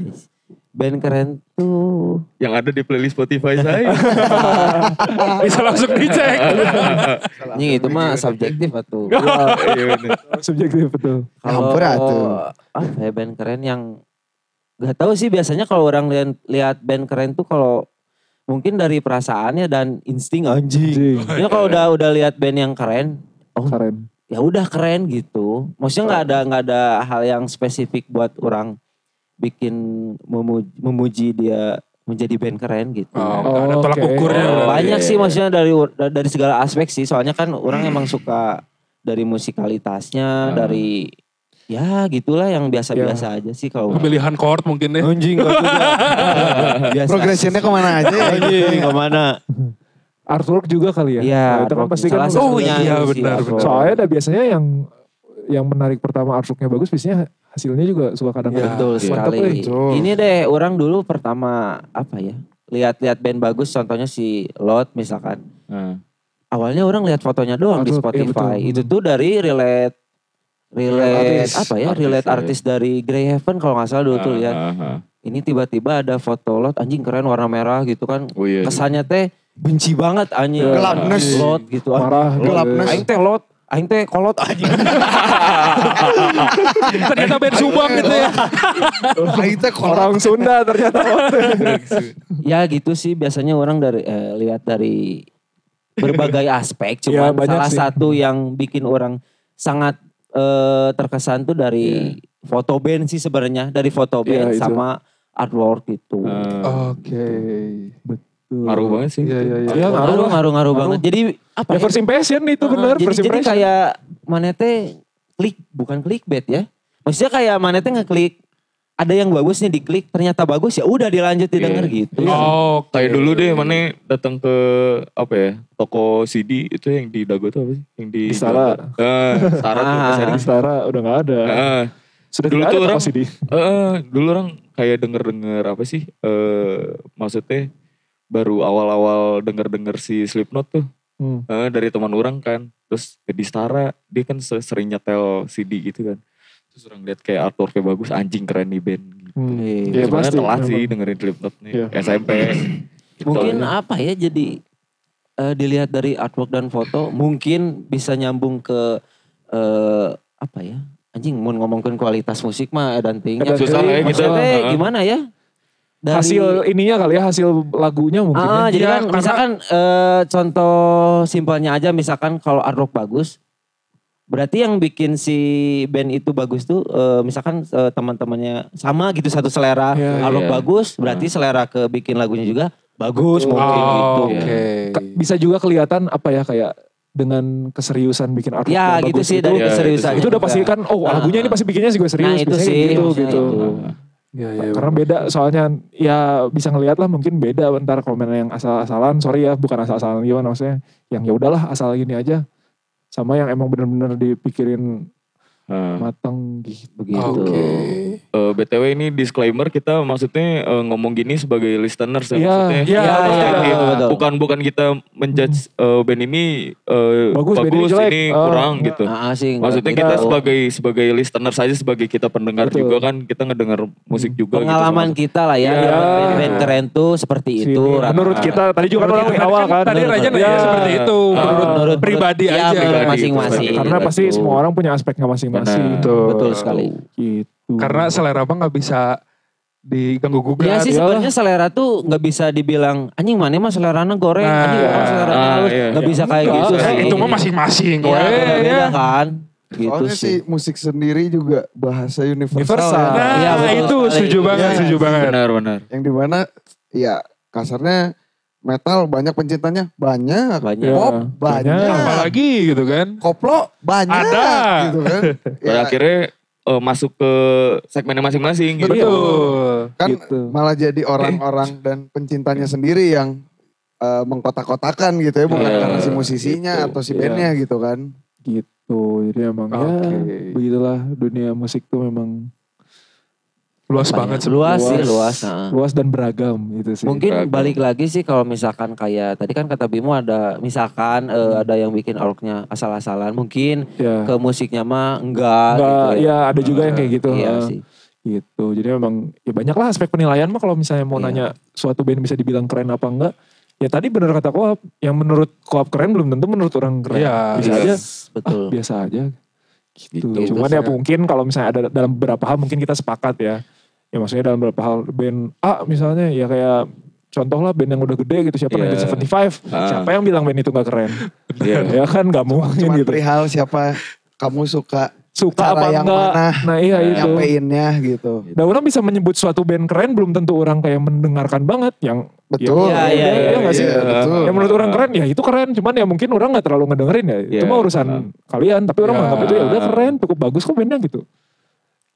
[SPEAKER 5] band keren tuh
[SPEAKER 2] Yang ada di playlist Spotify saya.
[SPEAKER 1] Bisa langsung dicek.
[SPEAKER 5] ini itu mah subjektif atuh
[SPEAKER 2] Iya bener.
[SPEAKER 3] Subjektif betul.
[SPEAKER 5] kalau
[SPEAKER 2] ah,
[SPEAKER 6] Campur atuh.
[SPEAKER 5] apa ya band keren yang nggak tahu sih biasanya kalau orang lihat lihat band keren tuh kalau mungkin dari perasaannya dan insting
[SPEAKER 3] Jing.
[SPEAKER 5] anjing ya kalau udah udah lihat band yang keren oh
[SPEAKER 3] Keren.
[SPEAKER 5] ya udah keren gitu. Maksudnya nggak ada nggak ada hal yang spesifik buat orang bikin memuji, memuji dia menjadi band keren gitu.
[SPEAKER 1] Oh, nggak ada
[SPEAKER 3] Oke.
[SPEAKER 1] tolak ukurnya.
[SPEAKER 2] Oh,
[SPEAKER 1] berarti.
[SPEAKER 5] Banyak
[SPEAKER 2] iya,
[SPEAKER 5] sih
[SPEAKER 2] iya.
[SPEAKER 5] maksudnya dari dari segala aspek sih. Soalnya kan orang emang suka dari musikalitasnya,
[SPEAKER 1] Ah.
[SPEAKER 2] Hmm.
[SPEAKER 5] dari ya gitulah yang
[SPEAKER 3] Ya.
[SPEAKER 5] biasa-biasa aja sih kalau
[SPEAKER 1] Pemilihan chord mungkin ya.
[SPEAKER 5] anjing nggak
[SPEAKER 3] gitu.
[SPEAKER 5] juga. biasa.
[SPEAKER 3] kan
[SPEAKER 6] Progressionnya kemana aja ya?
[SPEAKER 5] anjing kemana?
[SPEAKER 3] Artwork juga kali gitu. ya.
[SPEAKER 5] Iya,
[SPEAKER 3] Nah, itu kan
[SPEAKER 5] pro-
[SPEAKER 3] pasti kan.
[SPEAKER 5] salah
[SPEAKER 1] Oh,
[SPEAKER 5] satunya
[SPEAKER 1] iya,
[SPEAKER 5] sih,
[SPEAKER 1] benar,
[SPEAKER 5] Afro.
[SPEAKER 1] benar.
[SPEAKER 3] Soalnya ada biasanya yang yang menarik pertama artworknya bagus biasanya hasilnya juga suka kadang-kadang.
[SPEAKER 5] Betul
[SPEAKER 2] Iya.
[SPEAKER 5] sekali.
[SPEAKER 3] ya, Mantap, eh.
[SPEAKER 6] Betul.
[SPEAKER 5] Ini deh orang dulu pertama apa ya? Lihat-lihat band bagus contohnya si Lot misalkan.
[SPEAKER 2] Nah.
[SPEAKER 5] Awalnya orang lihat fotonya doang di
[SPEAKER 3] Artwork, iya,
[SPEAKER 5] Spotify.
[SPEAKER 3] betul.
[SPEAKER 5] Itu tuh dari relate relate
[SPEAKER 6] Artis.
[SPEAKER 5] apa ya
[SPEAKER 2] Artis,
[SPEAKER 5] relate
[SPEAKER 2] ya.
[SPEAKER 5] artis dari Grey Heaven kalau nggak salah dulu tuh lihat
[SPEAKER 2] Ah, ah, ah.
[SPEAKER 5] ini tiba-tiba ada foto lot anjing keren warna merah gitu kan
[SPEAKER 2] Oh iya.
[SPEAKER 5] kesannya teh benci banget anjing
[SPEAKER 6] Gelapness.
[SPEAKER 5] lot gitu
[SPEAKER 3] Parah.
[SPEAKER 6] Gelapness.
[SPEAKER 5] aing teh lot aing teh kolot anjing
[SPEAKER 1] Ternyata band Subang gitu ya.
[SPEAKER 6] Aita kolam.
[SPEAKER 3] Orang Sunda ternyata.
[SPEAKER 5] ya gitu sih biasanya orang dari eh, lihat dari berbagai aspek
[SPEAKER 3] Ya,
[SPEAKER 5] cuman
[SPEAKER 3] banyak
[SPEAKER 5] salah
[SPEAKER 3] sih.
[SPEAKER 5] satu yang bikin orang sangat eh, terkesan tuh dari foto band sih sebenarnya dari foto
[SPEAKER 3] Ya,
[SPEAKER 5] band
[SPEAKER 3] itu.
[SPEAKER 5] sama artwork gitu
[SPEAKER 2] Ah,
[SPEAKER 6] Oke.
[SPEAKER 3] Betul.
[SPEAKER 2] ngaruh banget sih.
[SPEAKER 6] Iya iya iya.
[SPEAKER 3] Iya ngaruh
[SPEAKER 5] ngaruh
[SPEAKER 3] lah.
[SPEAKER 5] ngaruh ngaruh banget jadi apa
[SPEAKER 3] Ya
[SPEAKER 5] ya?
[SPEAKER 3] first impression itu
[SPEAKER 5] Heeh,
[SPEAKER 3] bener.
[SPEAKER 5] jadi,
[SPEAKER 3] First
[SPEAKER 5] jadi
[SPEAKER 3] impression.
[SPEAKER 5] kayak mana teh klik bukan clickbait ya maksudnya kayak mana teh ngeklik ada yang bagus nih diklik ternyata bagus ya udah dilanjut didengar
[SPEAKER 2] Iya.
[SPEAKER 5] gitu
[SPEAKER 1] Oh,
[SPEAKER 2] Kayak dulu deh mana datang ke apa ya toko CD itu yang di Dago tuh apa sih? Yang di
[SPEAKER 3] Di Sara.
[SPEAKER 2] Eh, Sara tuh
[SPEAKER 5] Ah.
[SPEAKER 2] Sari.
[SPEAKER 3] Setara udah gak ada.
[SPEAKER 2] Eh,
[SPEAKER 3] Sudah
[SPEAKER 2] dulu
[SPEAKER 3] tidak
[SPEAKER 2] tuh
[SPEAKER 3] ada
[SPEAKER 2] orang-
[SPEAKER 3] pasti di.
[SPEAKER 2] eh, dulu orang kayak denger-denger apa sih? Eh, maksudnya baru awal-awal denger-denger si Slipknot tuh
[SPEAKER 3] Hmm.
[SPEAKER 2] Eh, dari teman orang kan terus jadi setara dia kan se- sering nyetel CD gitu kan terus orang lihat kayak artworknya bagus anjing keren nih band gitu.
[SPEAKER 3] Hmm.
[SPEAKER 5] Iya,
[SPEAKER 3] Ya,
[SPEAKER 2] sebenarnya
[SPEAKER 3] pasti.
[SPEAKER 2] telat sih
[SPEAKER 3] memang.
[SPEAKER 2] dengerin Slipknot nih
[SPEAKER 3] Iya.
[SPEAKER 2] SMP
[SPEAKER 5] mungkin
[SPEAKER 2] Gitu.
[SPEAKER 5] apa ya jadi eh, dilihat dari artwork dan foto mungkin bisa nyambung ke eh, apa ya anjing mau ngomongin kualitas musik mah eh, dan tingnya
[SPEAKER 3] Edan Susah ting. lah ya
[SPEAKER 2] gitu.
[SPEAKER 5] Maksudnya
[SPEAKER 2] Heeh.
[SPEAKER 5] gimana ya Dari-
[SPEAKER 3] Hasil ininya kali ya, hasil lagunya mungkin. ya.
[SPEAKER 5] Ah, jadi
[SPEAKER 1] Ya,
[SPEAKER 5] kan
[SPEAKER 1] karena-
[SPEAKER 5] misalkan eh, contoh simpelnya aja misalkan kalau artwork bagus berarti yang bikin si band itu bagus tuh eh, misalkan eh, teman-temannya sama gitu satu selera
[SPEAKER 3] Ya,
[SPEAKER 5] artwork
[SPEAKER 2] iya.
[SPEAKER 5] bagus berarti selera ke bikin lagunya juga bagus mungkin
[SPEAKER 1] Oh,
[SPEAKER 5] gitu.
[SPEAKER 1] oke.
[SPEAKER 3] Ka- bisa juga kelihatan apa ya kayak dengan keseriusan bikin artwork
[SPEAKER 5] Ya
[SPEAKER 3] yang
[SPEAKER 5] gitu
[SPEAKER 3] bagus Iya,
[SPEAKER 5] sih
[SPEAKER 3] itu,
[SPEAKER 5] dari
[SPEAKER 2] Ya,
[SPEAKER 5] keseriusan.
[SPEAKER 3] itu udah
[SPEAKER 5] juga.
[SPEAKER 3] pasti kan oh
[SPEAKER 5] Ah,
[SPEAKER 3] lagunya ini pasti bikinnya juga serius
[SPEAKER 5] Nah, itu
[SPEAKER 3] biasanya
[SPEAKER 5] sih,
[SPEAKER 3] gitu
[SPEAKER 5] maksudnya
[SPEAKER 3] gitu
[SPEAKER 5] itu.
[SPEAKER 6] Iya iya.
[SPEAKER 3] karena beda soalnya ya bisa ngelihat lah mungkin beda bentar komen yang asal-asalan sorry ya bukan asal-asalan gimana maksudnya yang ya udahlah asal gini aja sama yang emang bener-bener dipikirin
[SPEAKER 2] Eh,
[SPEAKER 3] matang gitu
[SPEAKER 5] begitu.
[SPEAKER 1] Oke.
[SPEAKER 2] eh, btw ini disclaimer kita maksudnya eh, ngomong gini sebagai listeners ya
[SPEAKER 3] Iya.
[SPEAKER 2] maksudnya
[SPEAKER 1] Iya,
[SPEAKER 5] Ya,
[SPEAKER 1] betul.
[SPEAKER 5] ya,
[SPEAKER 2] Ini
[SPEAKER 5] betul, betul.
[SPEAKER 2] bukan bukan kita menjudge eh, band ini eh,
[SPEAKER 3] Bagus, band
[SPEAKER 2] bagus,
[SPEAKER 3] ini jelek.
[SPEAKER 2] ini
[SPEAKER 3] Eh,
[SPEAKER 2] kurang
[SPEAKER 3] enggak.
[SPEAKER 2] gitu
[SPEAKER 5] Ah, ah, sih, enggak-
[SPEAKER 2] maksudnya
[SPEAKER 5] enggak
[SPEAKER 2] kita
[SPEAKER 5] tahu.
[SPEAKER 2] sebagai sebagai listener saja sebagai kita pendengar
[SPEAKER 3] Betul.
[SPEAKER 2] juga kan kita ngedengar musik juga gitu sama-
[SPEAKER 5] pengalaman kita lah ya,
[SPEAKER 2] Iya.
[SPEAKER 5] band, band keren tuh seperti
[SPEAKER 3] Sini,
[SPEAKER 5] itu. Ah. Rata.
[SPEAKER 3] menurut kita tadi juga kan orang
[SPEAKER 1] Menurut
[SPEAKER 3] di
[SPEAKER 1] kita
[SPEAKER 3] awal kan
[SPEAKER 1] Tadi
[SPEAKER 5] Menurut-
[SPEAKER 1] Raja nanya
[SPEAKER 5] ya.
[SPEAKER 1] seperti itu.
[SPEAKER 2] Ah.
[SPEAKER 1] Menurut,
[SPEAKER 5] Menurut-
[SPEAKER 1] pribadi
[SPEAKER 5] ya,
[SPEAKER 1] aja. gitu.
[SPEAKER 5] menurut
[SPEAKER 2] Pribadi,
[SPEAKER 5] masing-masing. Iya
[SPEAKER 3] karena
[SPEAKER 2] Betul.
[SPEAKER 3] pasti semua orang punya aspeknya
[SPEAKER 2] Benar.
[SPEAKER 3] masing-masing
[SPEAKER 1] Betul.
[SPEAKER 5] betul sekali.
[SPEAKER 3] gitu
[SPEAKER 1] Karena selera bang nggak bisa diganggu gugat.
[SPEAKER 5] Ya sih sebenarnya selera tuh nggak bisa dibilang anjing mana mah selerana goreng,
[SPEAKER 1] Nah.
[SPEAKER 5] anjing orang selerana
[SPEAKER 2] Ah,
[SPEAKER 5] halus,
[SPEAKER 2] iya.
[SPEAKER 5] nggak bisa kayak
[SPEAKER 3] Enggak,
[SPEAKER 5] gitu
[SPEAKER 1] Eh,
[SPEAKER 5] sih.
[SPEAKER 1] itu mah masing-masing.
[SPEAKER 5] Iya,
[SPEAKER 1] weh,
[SPEAKER 5] beda-beda
[SPEAKER 1] ya.
[SPEAKER 5] kan. Gitu
[SPEAKER 6] Soalnya
[SPEAKER 5] sih.
[SPEAKER 6] sih musik sendiri juga bahasa universal.
[SPEAKER 3] Universal.
[SPEAKER 6] ya.
[SPEAKER 1] Nah
[SPEAKER 5] Iya, betul
[SPEAKER 1] itu
[SPEAKER 5] sekali.
[SPEAKER 1] setuju banget,
[SPEAKER 6] Iya.
[SPEAKER 1] setuju banget.
[SPEAKER 2] benar benar
[SPEAKER 6] Yang dimana ya kasarnya metal banyak pencintanya banyak,
[SPEAKER 5] Banyak.
[SPEAKER 6] pop
[SPEAKER 3] Ya,
[SPEAKER 6] banyak,
[SPEAKER 3] banyak.
[SPEAKER 1] Apalagi gitu kan.
[SPEAKER 6] koplo banyak
[SPEAKER 1] Ada.
[SPEAKER 6] gitu kan.
[SPEAKER 2] pada akhirnya eh, masuk ke segmennya masing-masing
[SPEAKER 1] Iya.
[SPEAKER 2] gitu
[SPEAKER 1] Betul.
[SPEAKER 6] kan
[SPEAKER 3] Gitu.
[SPEAKER 6] malah jadi orang-orang dan pencintanya sendiri yang eh, mengkotak-kotakan gitu ya bukan
[SPEAKER 2] Iya,
[SPEAKER 6] karena si musisinya
[SPEAKER 2] gitu.
[SPEAKER 6] atau si
[SPEAKER 3] Iya.
[SPEAKER 6] bandnya gitu kan
[SPEAKER 3] gitu jadi emang
[SPEAKER 1] Oke.
[SPEAKER 3] ya begitulah dunia musik tuh memang
[SPEAKER 1] Luas
[SPEAKER 5] Banyak.
[SPEAKER 1] banget. sih.
[SPEAKER 5] ya? Luas sih, luas. Nah.
[SPEAKER 3] luas dan beragam gitu sih
[SPEAKER 5] Mungkin
[SPEAKER 2] beragam.
[SPEAKER 5] balik lagi sih kalau misalkan kayak tadi kan kata Bimo ada misalkan eh, ada yang bikin orknya asal-asalan, mungkin
[SPEAKER 3] ya
[SPEAKER 5] ke musiknya mah enggak,
[SPEAKER 3] Nggak-
[SPEAKER 5] gitu.
[SPEAKER 3] ya ada juga yang kayak gitu
[SPEAKER 5] Iya
[SPEAKER 3] ha.
[SPEAKER 5] sih.
[SPEAKER 3] gitu jadi memang ya banyak lah aspek penilaian mah kalau misalnya mau
[SPEAKER 5] Iya.
[SPEAKER 3] nanya suatu band bisa dibilang keren apa enggak ya tadi bener kata koap yang menurut koap keren belum tentu menurut orang keren
[SPEAKER 1] Iya,
[SPEAKER 3] bisa
[SPEAKER 2] iya.
[SPEAKER 3] aja
[SPEAKER 5] Betul.
[SPEAKER 3] ah, biasa aja gitu,
[SPEAKER 2] Gitu.
[SPEAKER 3] cuman ya mungkin kalau misalnya ada dalam beberapa hal mungkin kita sepakat ya ya maksudnya dalam beberapa hal band A misalnya ya kayak contoh lah band yang udah gede gitu siapa
[SPEAKER 2] Iya.
[SPEAKER 3] 1975
[SPEAKER 2] Ah.
[SPEAKER 3] siapa yang bilang band itu gak keren
[SPEAKER 2] Iya.
[SPEAKER 3] ya kan gak mungkin
[SPEAKER 6] cuma
[SPEAKER 3] gitu
[SPEAKER 6] perihal siapa kamu suka
[SPEAKER 3] suka
[SPEAKER 6] cara
[SPEAKER 3] apa
[SPEAKER 6] yang
[SPEAKER 3] enggak
[SPEAKER 6] mana
[SPEAKER 3] nah iya itu
[SPEAKER 6] nyampeinnya gitu
[SPEAKER 3] nah orang bisa menyebut suatu band keren belum tentu orang kayak mendengarkan banget yang
[SPEAKER 6] betul
[SPEAKER 5] Iya, iya,
[SPEAKER 3] iya, iya, iya,
[SPEAKER 6] iya, betul.
[SPEAKER 3] yang menurut orang keren ya itu keren cuman ya mungkin orang nggak terlalu ngedengerin ya itu
[SPEAKER 2] Iya.
[SPEAKER 3] mah urusan kalian tapi orang
[SPEAKER 1] Iya.
[SPEAKER 3] menganggap itu ya udah keren cukup bagus kok bandnya gitu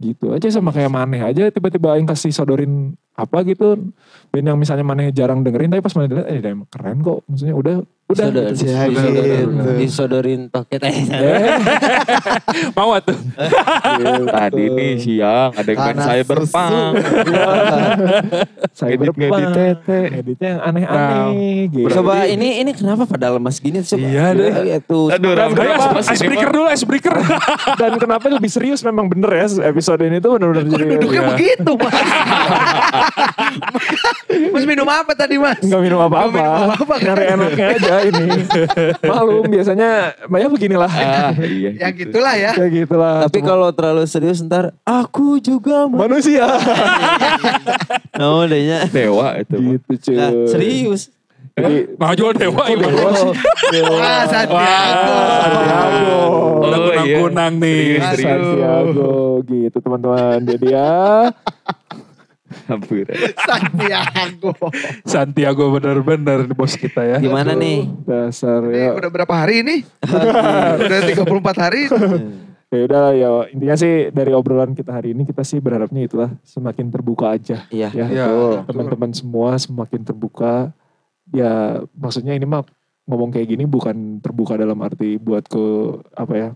[SPEAKER 3] gitu aja sama kayak maneh aja tiba-tiba yang kasih sodorin apa gitu band yang misalnya maneh jarang dengerin tapi pas maneh dengerin eh dia emang keren kok maksudnya udah Udah.
[SPEAKER 5] Sodor-
[SPEAKER 3] gitu.
[SPEAKER 6] Ya,
[SPEAKER 5] disodorin,
[SPEAKER 6] gitu.
[SPEAKER 5] disodorin toket
[SPEAKER 3] Eh,
[SPEAKER 1] Mau tuh.
[SPEAKER 2] Tadi nih siang ada yang main
[SPEAKER 6] Karena
[SPEAKER 2] cyberpunk.
[SPEAKER 3] Saya
[SPEAKER 2] Edit nggak
[SPEAKER 3] berpang.
[SPEAKER 2] ditete.
[SPEAKER 3] Editnya yang aneh-aneh. gitu.
[SPEAKER 5] Coba ini ini kenapa pada lemas gini coba?
[SPEAKER 1] Iya deh.
[SPEAKER 5] Ya, tuh.
[SPEAKER 2] Aduh, Ram,
[SPEAKER 1] Ayo ice-
[SPEAKER 2] kenapa sih ini,
[SPEAKER 1] icebreaker
[SPEAKER 2] Bang?
[SPEAKER 1] dulu, icebreaker.
[SPEAKER 3] Dan kenapa lebih serius memang bener ya episode ini tuh bener-bener jadi.
[SPEAKER 1] duduknya
[SPEAKER 3] Iya.
[SPEAKER 5] begitu mas. mas minum apa tadi mas?
[SPEAKER 3] Nggak minum apa-apa.
[SPEAKER 5] Nggak minum apa-apa, kan?
[SPEAKER 3] Nyari enaknya aja ini. Malum biasanya banyak beginilah.
[SPEAKER 2] Ah, iya.
[SPEAKER 6] Ya gitulah ya.
[SPEAKER 3] ya gitulah.
[SPEAKER 5] Tapi kalau terlalu serius ntar aku juga mas.
[SPEAKER 3] manusia.
[SPEAKER 5] No, adanya.
[SPEAKER 2] Dewa itu. Bang.
[SPEAKER 3] gitu cuy.
[SPEAKER 5] Nah, serius.
[SPEAKER 3] Jadi oh,
[SPEAKER 1] Mau jual dewa ya. Bang.
[SPEAKER 2] Gitu.
[SPEAKER 6] Wah, Ah, Santiago.
[SPEAKER 3] Santiago.
[SPEAKER 2] Oh,
[SPEAKER 1] Udah
[SPEAKER 2] iya.
[SPEAKER 1] kunang-kunang nih.
[SPEAKER 2] Serius, serius.
[SPEAKER 3] Santiago gitu teman-teman. Jadi ya
[SPEAKER 2] Hampir.
[SPEAKER 6] Santiago.
[SPEAKER 1] Santiago benar-benar bos kita ya.
[SPEAKER 5] Gimana nih?
[SPEAKER 3] dasar ya.
[SPEAKER 6] Ini udah berapa hari ini?
[SPEAKER 2] Iya.
[SPEAKER 6] udah 34 hari.
[SPEAKER 3] Ya udah lah, ya intinya sih dari obrolan kita hari ini kita sih berharapnya itulah semakin terbuka aja.
[SPEAKER 5] Iya.
[SPEAKER 3] Ya,
[SPEAKER 1] Iya,
[SPEAKER 3] betul.
[SPEAKER 1] betul.
[SPEAKER 3] teman-teman semua semakin terbuka. Ya maksudnya ini mah ngomong kayak gini bukan terbuka dalam arti buat ke apa ya?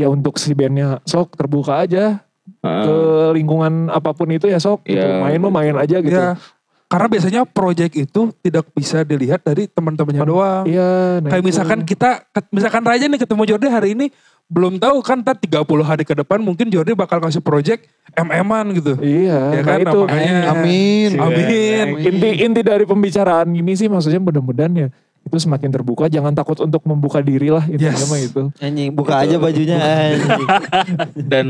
[SPEAKER 3] Ya untuk si bandnya sok terbuka aja ke
[SPEAKER 2] Ah,
[SPEAKER 3] lingkungan apapun itu ya sok. gitu.
[SPEAKER 2] Iya.
[SPEAKER 3] Main mah main aja gitu.
[SPEAKER 1] Ya. Karena biasanya project itu tidak bisa dilihat dari teman-temannya doang.
[SPEAKER 3] Iya. nah
[SPEAKER 1] Kayak
[SPEAKER 3] itu.
[SPEAKER 1] misalkan kita, misalkan Raja nih ketemu Jordi hari ini, belum tahu kan ntar 30 hari ke depan mungkin Jordi bakal ngasih project MM-an gitu.
[SPEAKER 3] Iya.
[SPEAKER 1] Ya
[SPEAKER 3] nah
[SPEAKER 1] kan,
[SPEAKER 3] itu.
[SPEAKER 1] makanya.
[SPEAKER 6] Amin.
[SPEAKER 1] Iya. Amin.
[SPEAKER 3] Inti inti dari pembicaraan ini sih maksudnya mudah-mudahan ya itu semakin terbuka. Jangan takut untuk membuka diri lah intinya
[SPEAKER 1] Yes.
[SPEAKER 3] mah itu.
[SPEAKER 5] Anjing, buka aja bajunya anjing.
[SPEAKER 2] Dan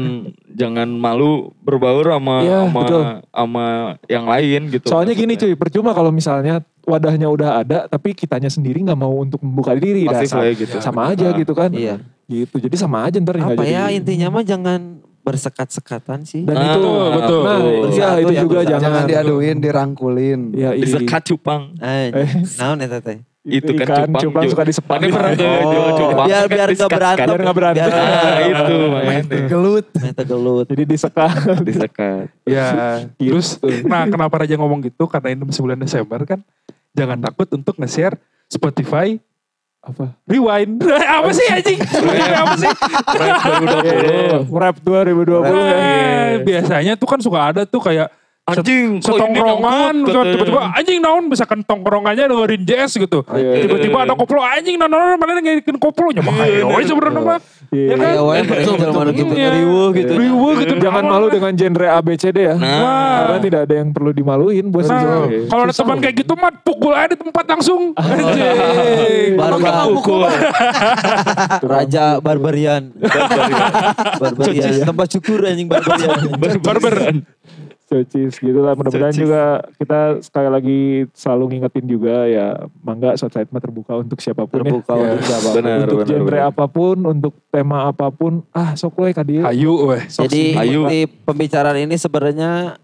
[SPEAKER 2] jangan malu berbaur sama
[SPEAKER 3] Iya,
[SPEAKER 2] sama,
[SPEAKER 3] betul.
[SPEAKER 2] sama yang lain gitu.
[SPEAKER 3] Soalnya gini
[SPEAKER 2] maksudnya.
[SPEAKER 3] cuy, percuma kalau misalnya wadahnya udah ada, tapi kitanya sendiri nggak mau untuk membuka diri.
[SPEAKER 2] Pasti
[SPEAKER 3] Iya, sama,
[SPEAKER 2] kayak gitu.
[SPEAKER 3] sama aja
[SPEAKER 2] Ah.
[SPEAKER 3] gitu kan.
[SPEAKER 5] Iya.
[SPEAKER 3] Gitu, jadi sama aja ntar. nggak
[SPEAKER 5] Apa
[SPEAKER 3] jadi.
[SPEAKER 5] ya intinya mah jangan bersekat-sekatan sih.
[SPEAKER 3] Dan
[SPEAKER 2] Ah,
[SPEAKER 3] itu,
[SPEAKER 1] betul.
[SPEAKER 3] Nah,
[SPEAKER 2] Betul.
[SPEAKER 3] iya,
[SPEAKER 5] Satu
[SPEAKER 3] itu
[SPEAKER 5] yang
[SPEAKER 3] juga
[SPEAKER 5] besar.
[SPEAKER 3] jangan.
[SPEAKER 6] Jangan diaduin, dirangkulin.
[SPEAKER 3] Ya,
[SPEAKER 2] Iya.
[SPEAKER 3] i-
[SPEAKER 2] Disekat cupang.
[SPEAKER 5] Anjing. Naon eta teh?
[SPEAKER 2] Itu kan
[SPEAKER 3] Ikan
[SPEAKER 2] cupang.
[SPEAKER 3] Iya, cupang
[SPEAKER 2] Ju.
[SPEAKER 3] suka disepak.
[SPEAKER 2] Ada pernah tuh
[SPEAKER 3] Oh.
[SPEAKER 2] jual cupang.
[SPEAKER 5] Biar
[SPEAKER 2] kan
[SPEAKER 5] biar gak
[SPEAKER 2] disekat kan.
[SPEAKER 5] berantem.
[SPEAKER 3] Biar nggak berantem.
[SPEAKER 2] Ah, itu
[SPEAKER 1] Iya.
[SPEAKER 2] makanya.
[SPEAKER 6] Gelut.
[SPEAKER 5] Eta gelut.
[SPEAKER 3] Jadi disekat.
[SPEAKER 2] Disekat.
[SPEAKER 1] Ya,
[SPEAKER 3] Gitu.
[SPEAKER 1] terus nah kenapa Raja ngomong gitu? Karena ini masih bulan Desember kan. Jangan takut untuk nge-share Spotify
[SPEAKER 3] Apa?
[SPEAKER 1] Rewind. apa sih anjing? Spotify apa sih?
[SPEAKER 3] Eh, Rap 2020 ya.
[SPEAKER 1] Eh, biasanya tuh kan suka ada tuh kayak set-
[SPEAKER 2] Anjing, kok ini
[SPEAKER 1] setongkrongan
[SPEAKER 2] nyangkut,
[SPEAKER 1] misalkan
[SPEAKER 2] katanya.
[SPEAKER 1] tiba-tiba anjing naon misalkan tongkrongannya dengerin jazz gitu. Tiba-tiba ada koplo anjing naon naon mana ngirikin koplo nya mah ayo we sebenarnya mah.
[SPEAKER 3] Iya.
[SPEAKER 1] Ya kan?
[SPEAKER 5] Ayo wae mereka jelema nu gitu
[SPEAKER 1] Iya.
[SPEAKER 5] ngeriweuh gitu.
[SPEAKER 1] Riweuh gitu.
[SPEAKER 3] Jangan
[SPEAKER 1] Naon,
[SPEAKER 3] malu
[SPEAKER 1] nah.
[SPEAKER 3] dengan genre ABCD ya.
[SPEAKER 2] Nah.
[SPEAKER 3] Karena tidak ada yang perlu dimaluin buat
[SPEAKER 1] Nah,
[SPEAKER 3] sejarah.
[SPEAKER 1] kalau ada teman kayak gitu mah pukul aja di tempat langsung. Anjing.
[SPEAKER 5] Baru
[SPEAKER 2] Baru ukur.
[SPEAKER 5] Raja Barbarian. Barbarian. Tempat cukur anjing Barbarian.
[SPEAKER 1] Barber.
[SPEAKER 3] Socis gitu lah. Mudah-mudahan
[SPEAKER 2] Socis.
[SPEAKER 3] juga kita sekali lagi selalu ngingetin juga ya mangga society mah terbuka untuk siapapun
[SPEAKER 5] Terbuka
[SPEAKER 3] ya.
[SPEAKER 5] untuk siapapun.
[SPEAKER 2] Benar,
[SPEAKER 3] untuk
[SPEAKER 2] benar,
[SPEAKER 3] genre
[SPEAKER 2] benar.
[SPEAKER 3] apapun, untuk tema apapun. Ah sok loe kadieu.
[SPEAKER 1] Ayu weh.
[SPEAKER 5] Jadi
[SPEAKER 2] Ayu.
[SPEAKER 5] di pembicaraan ini sebenarnya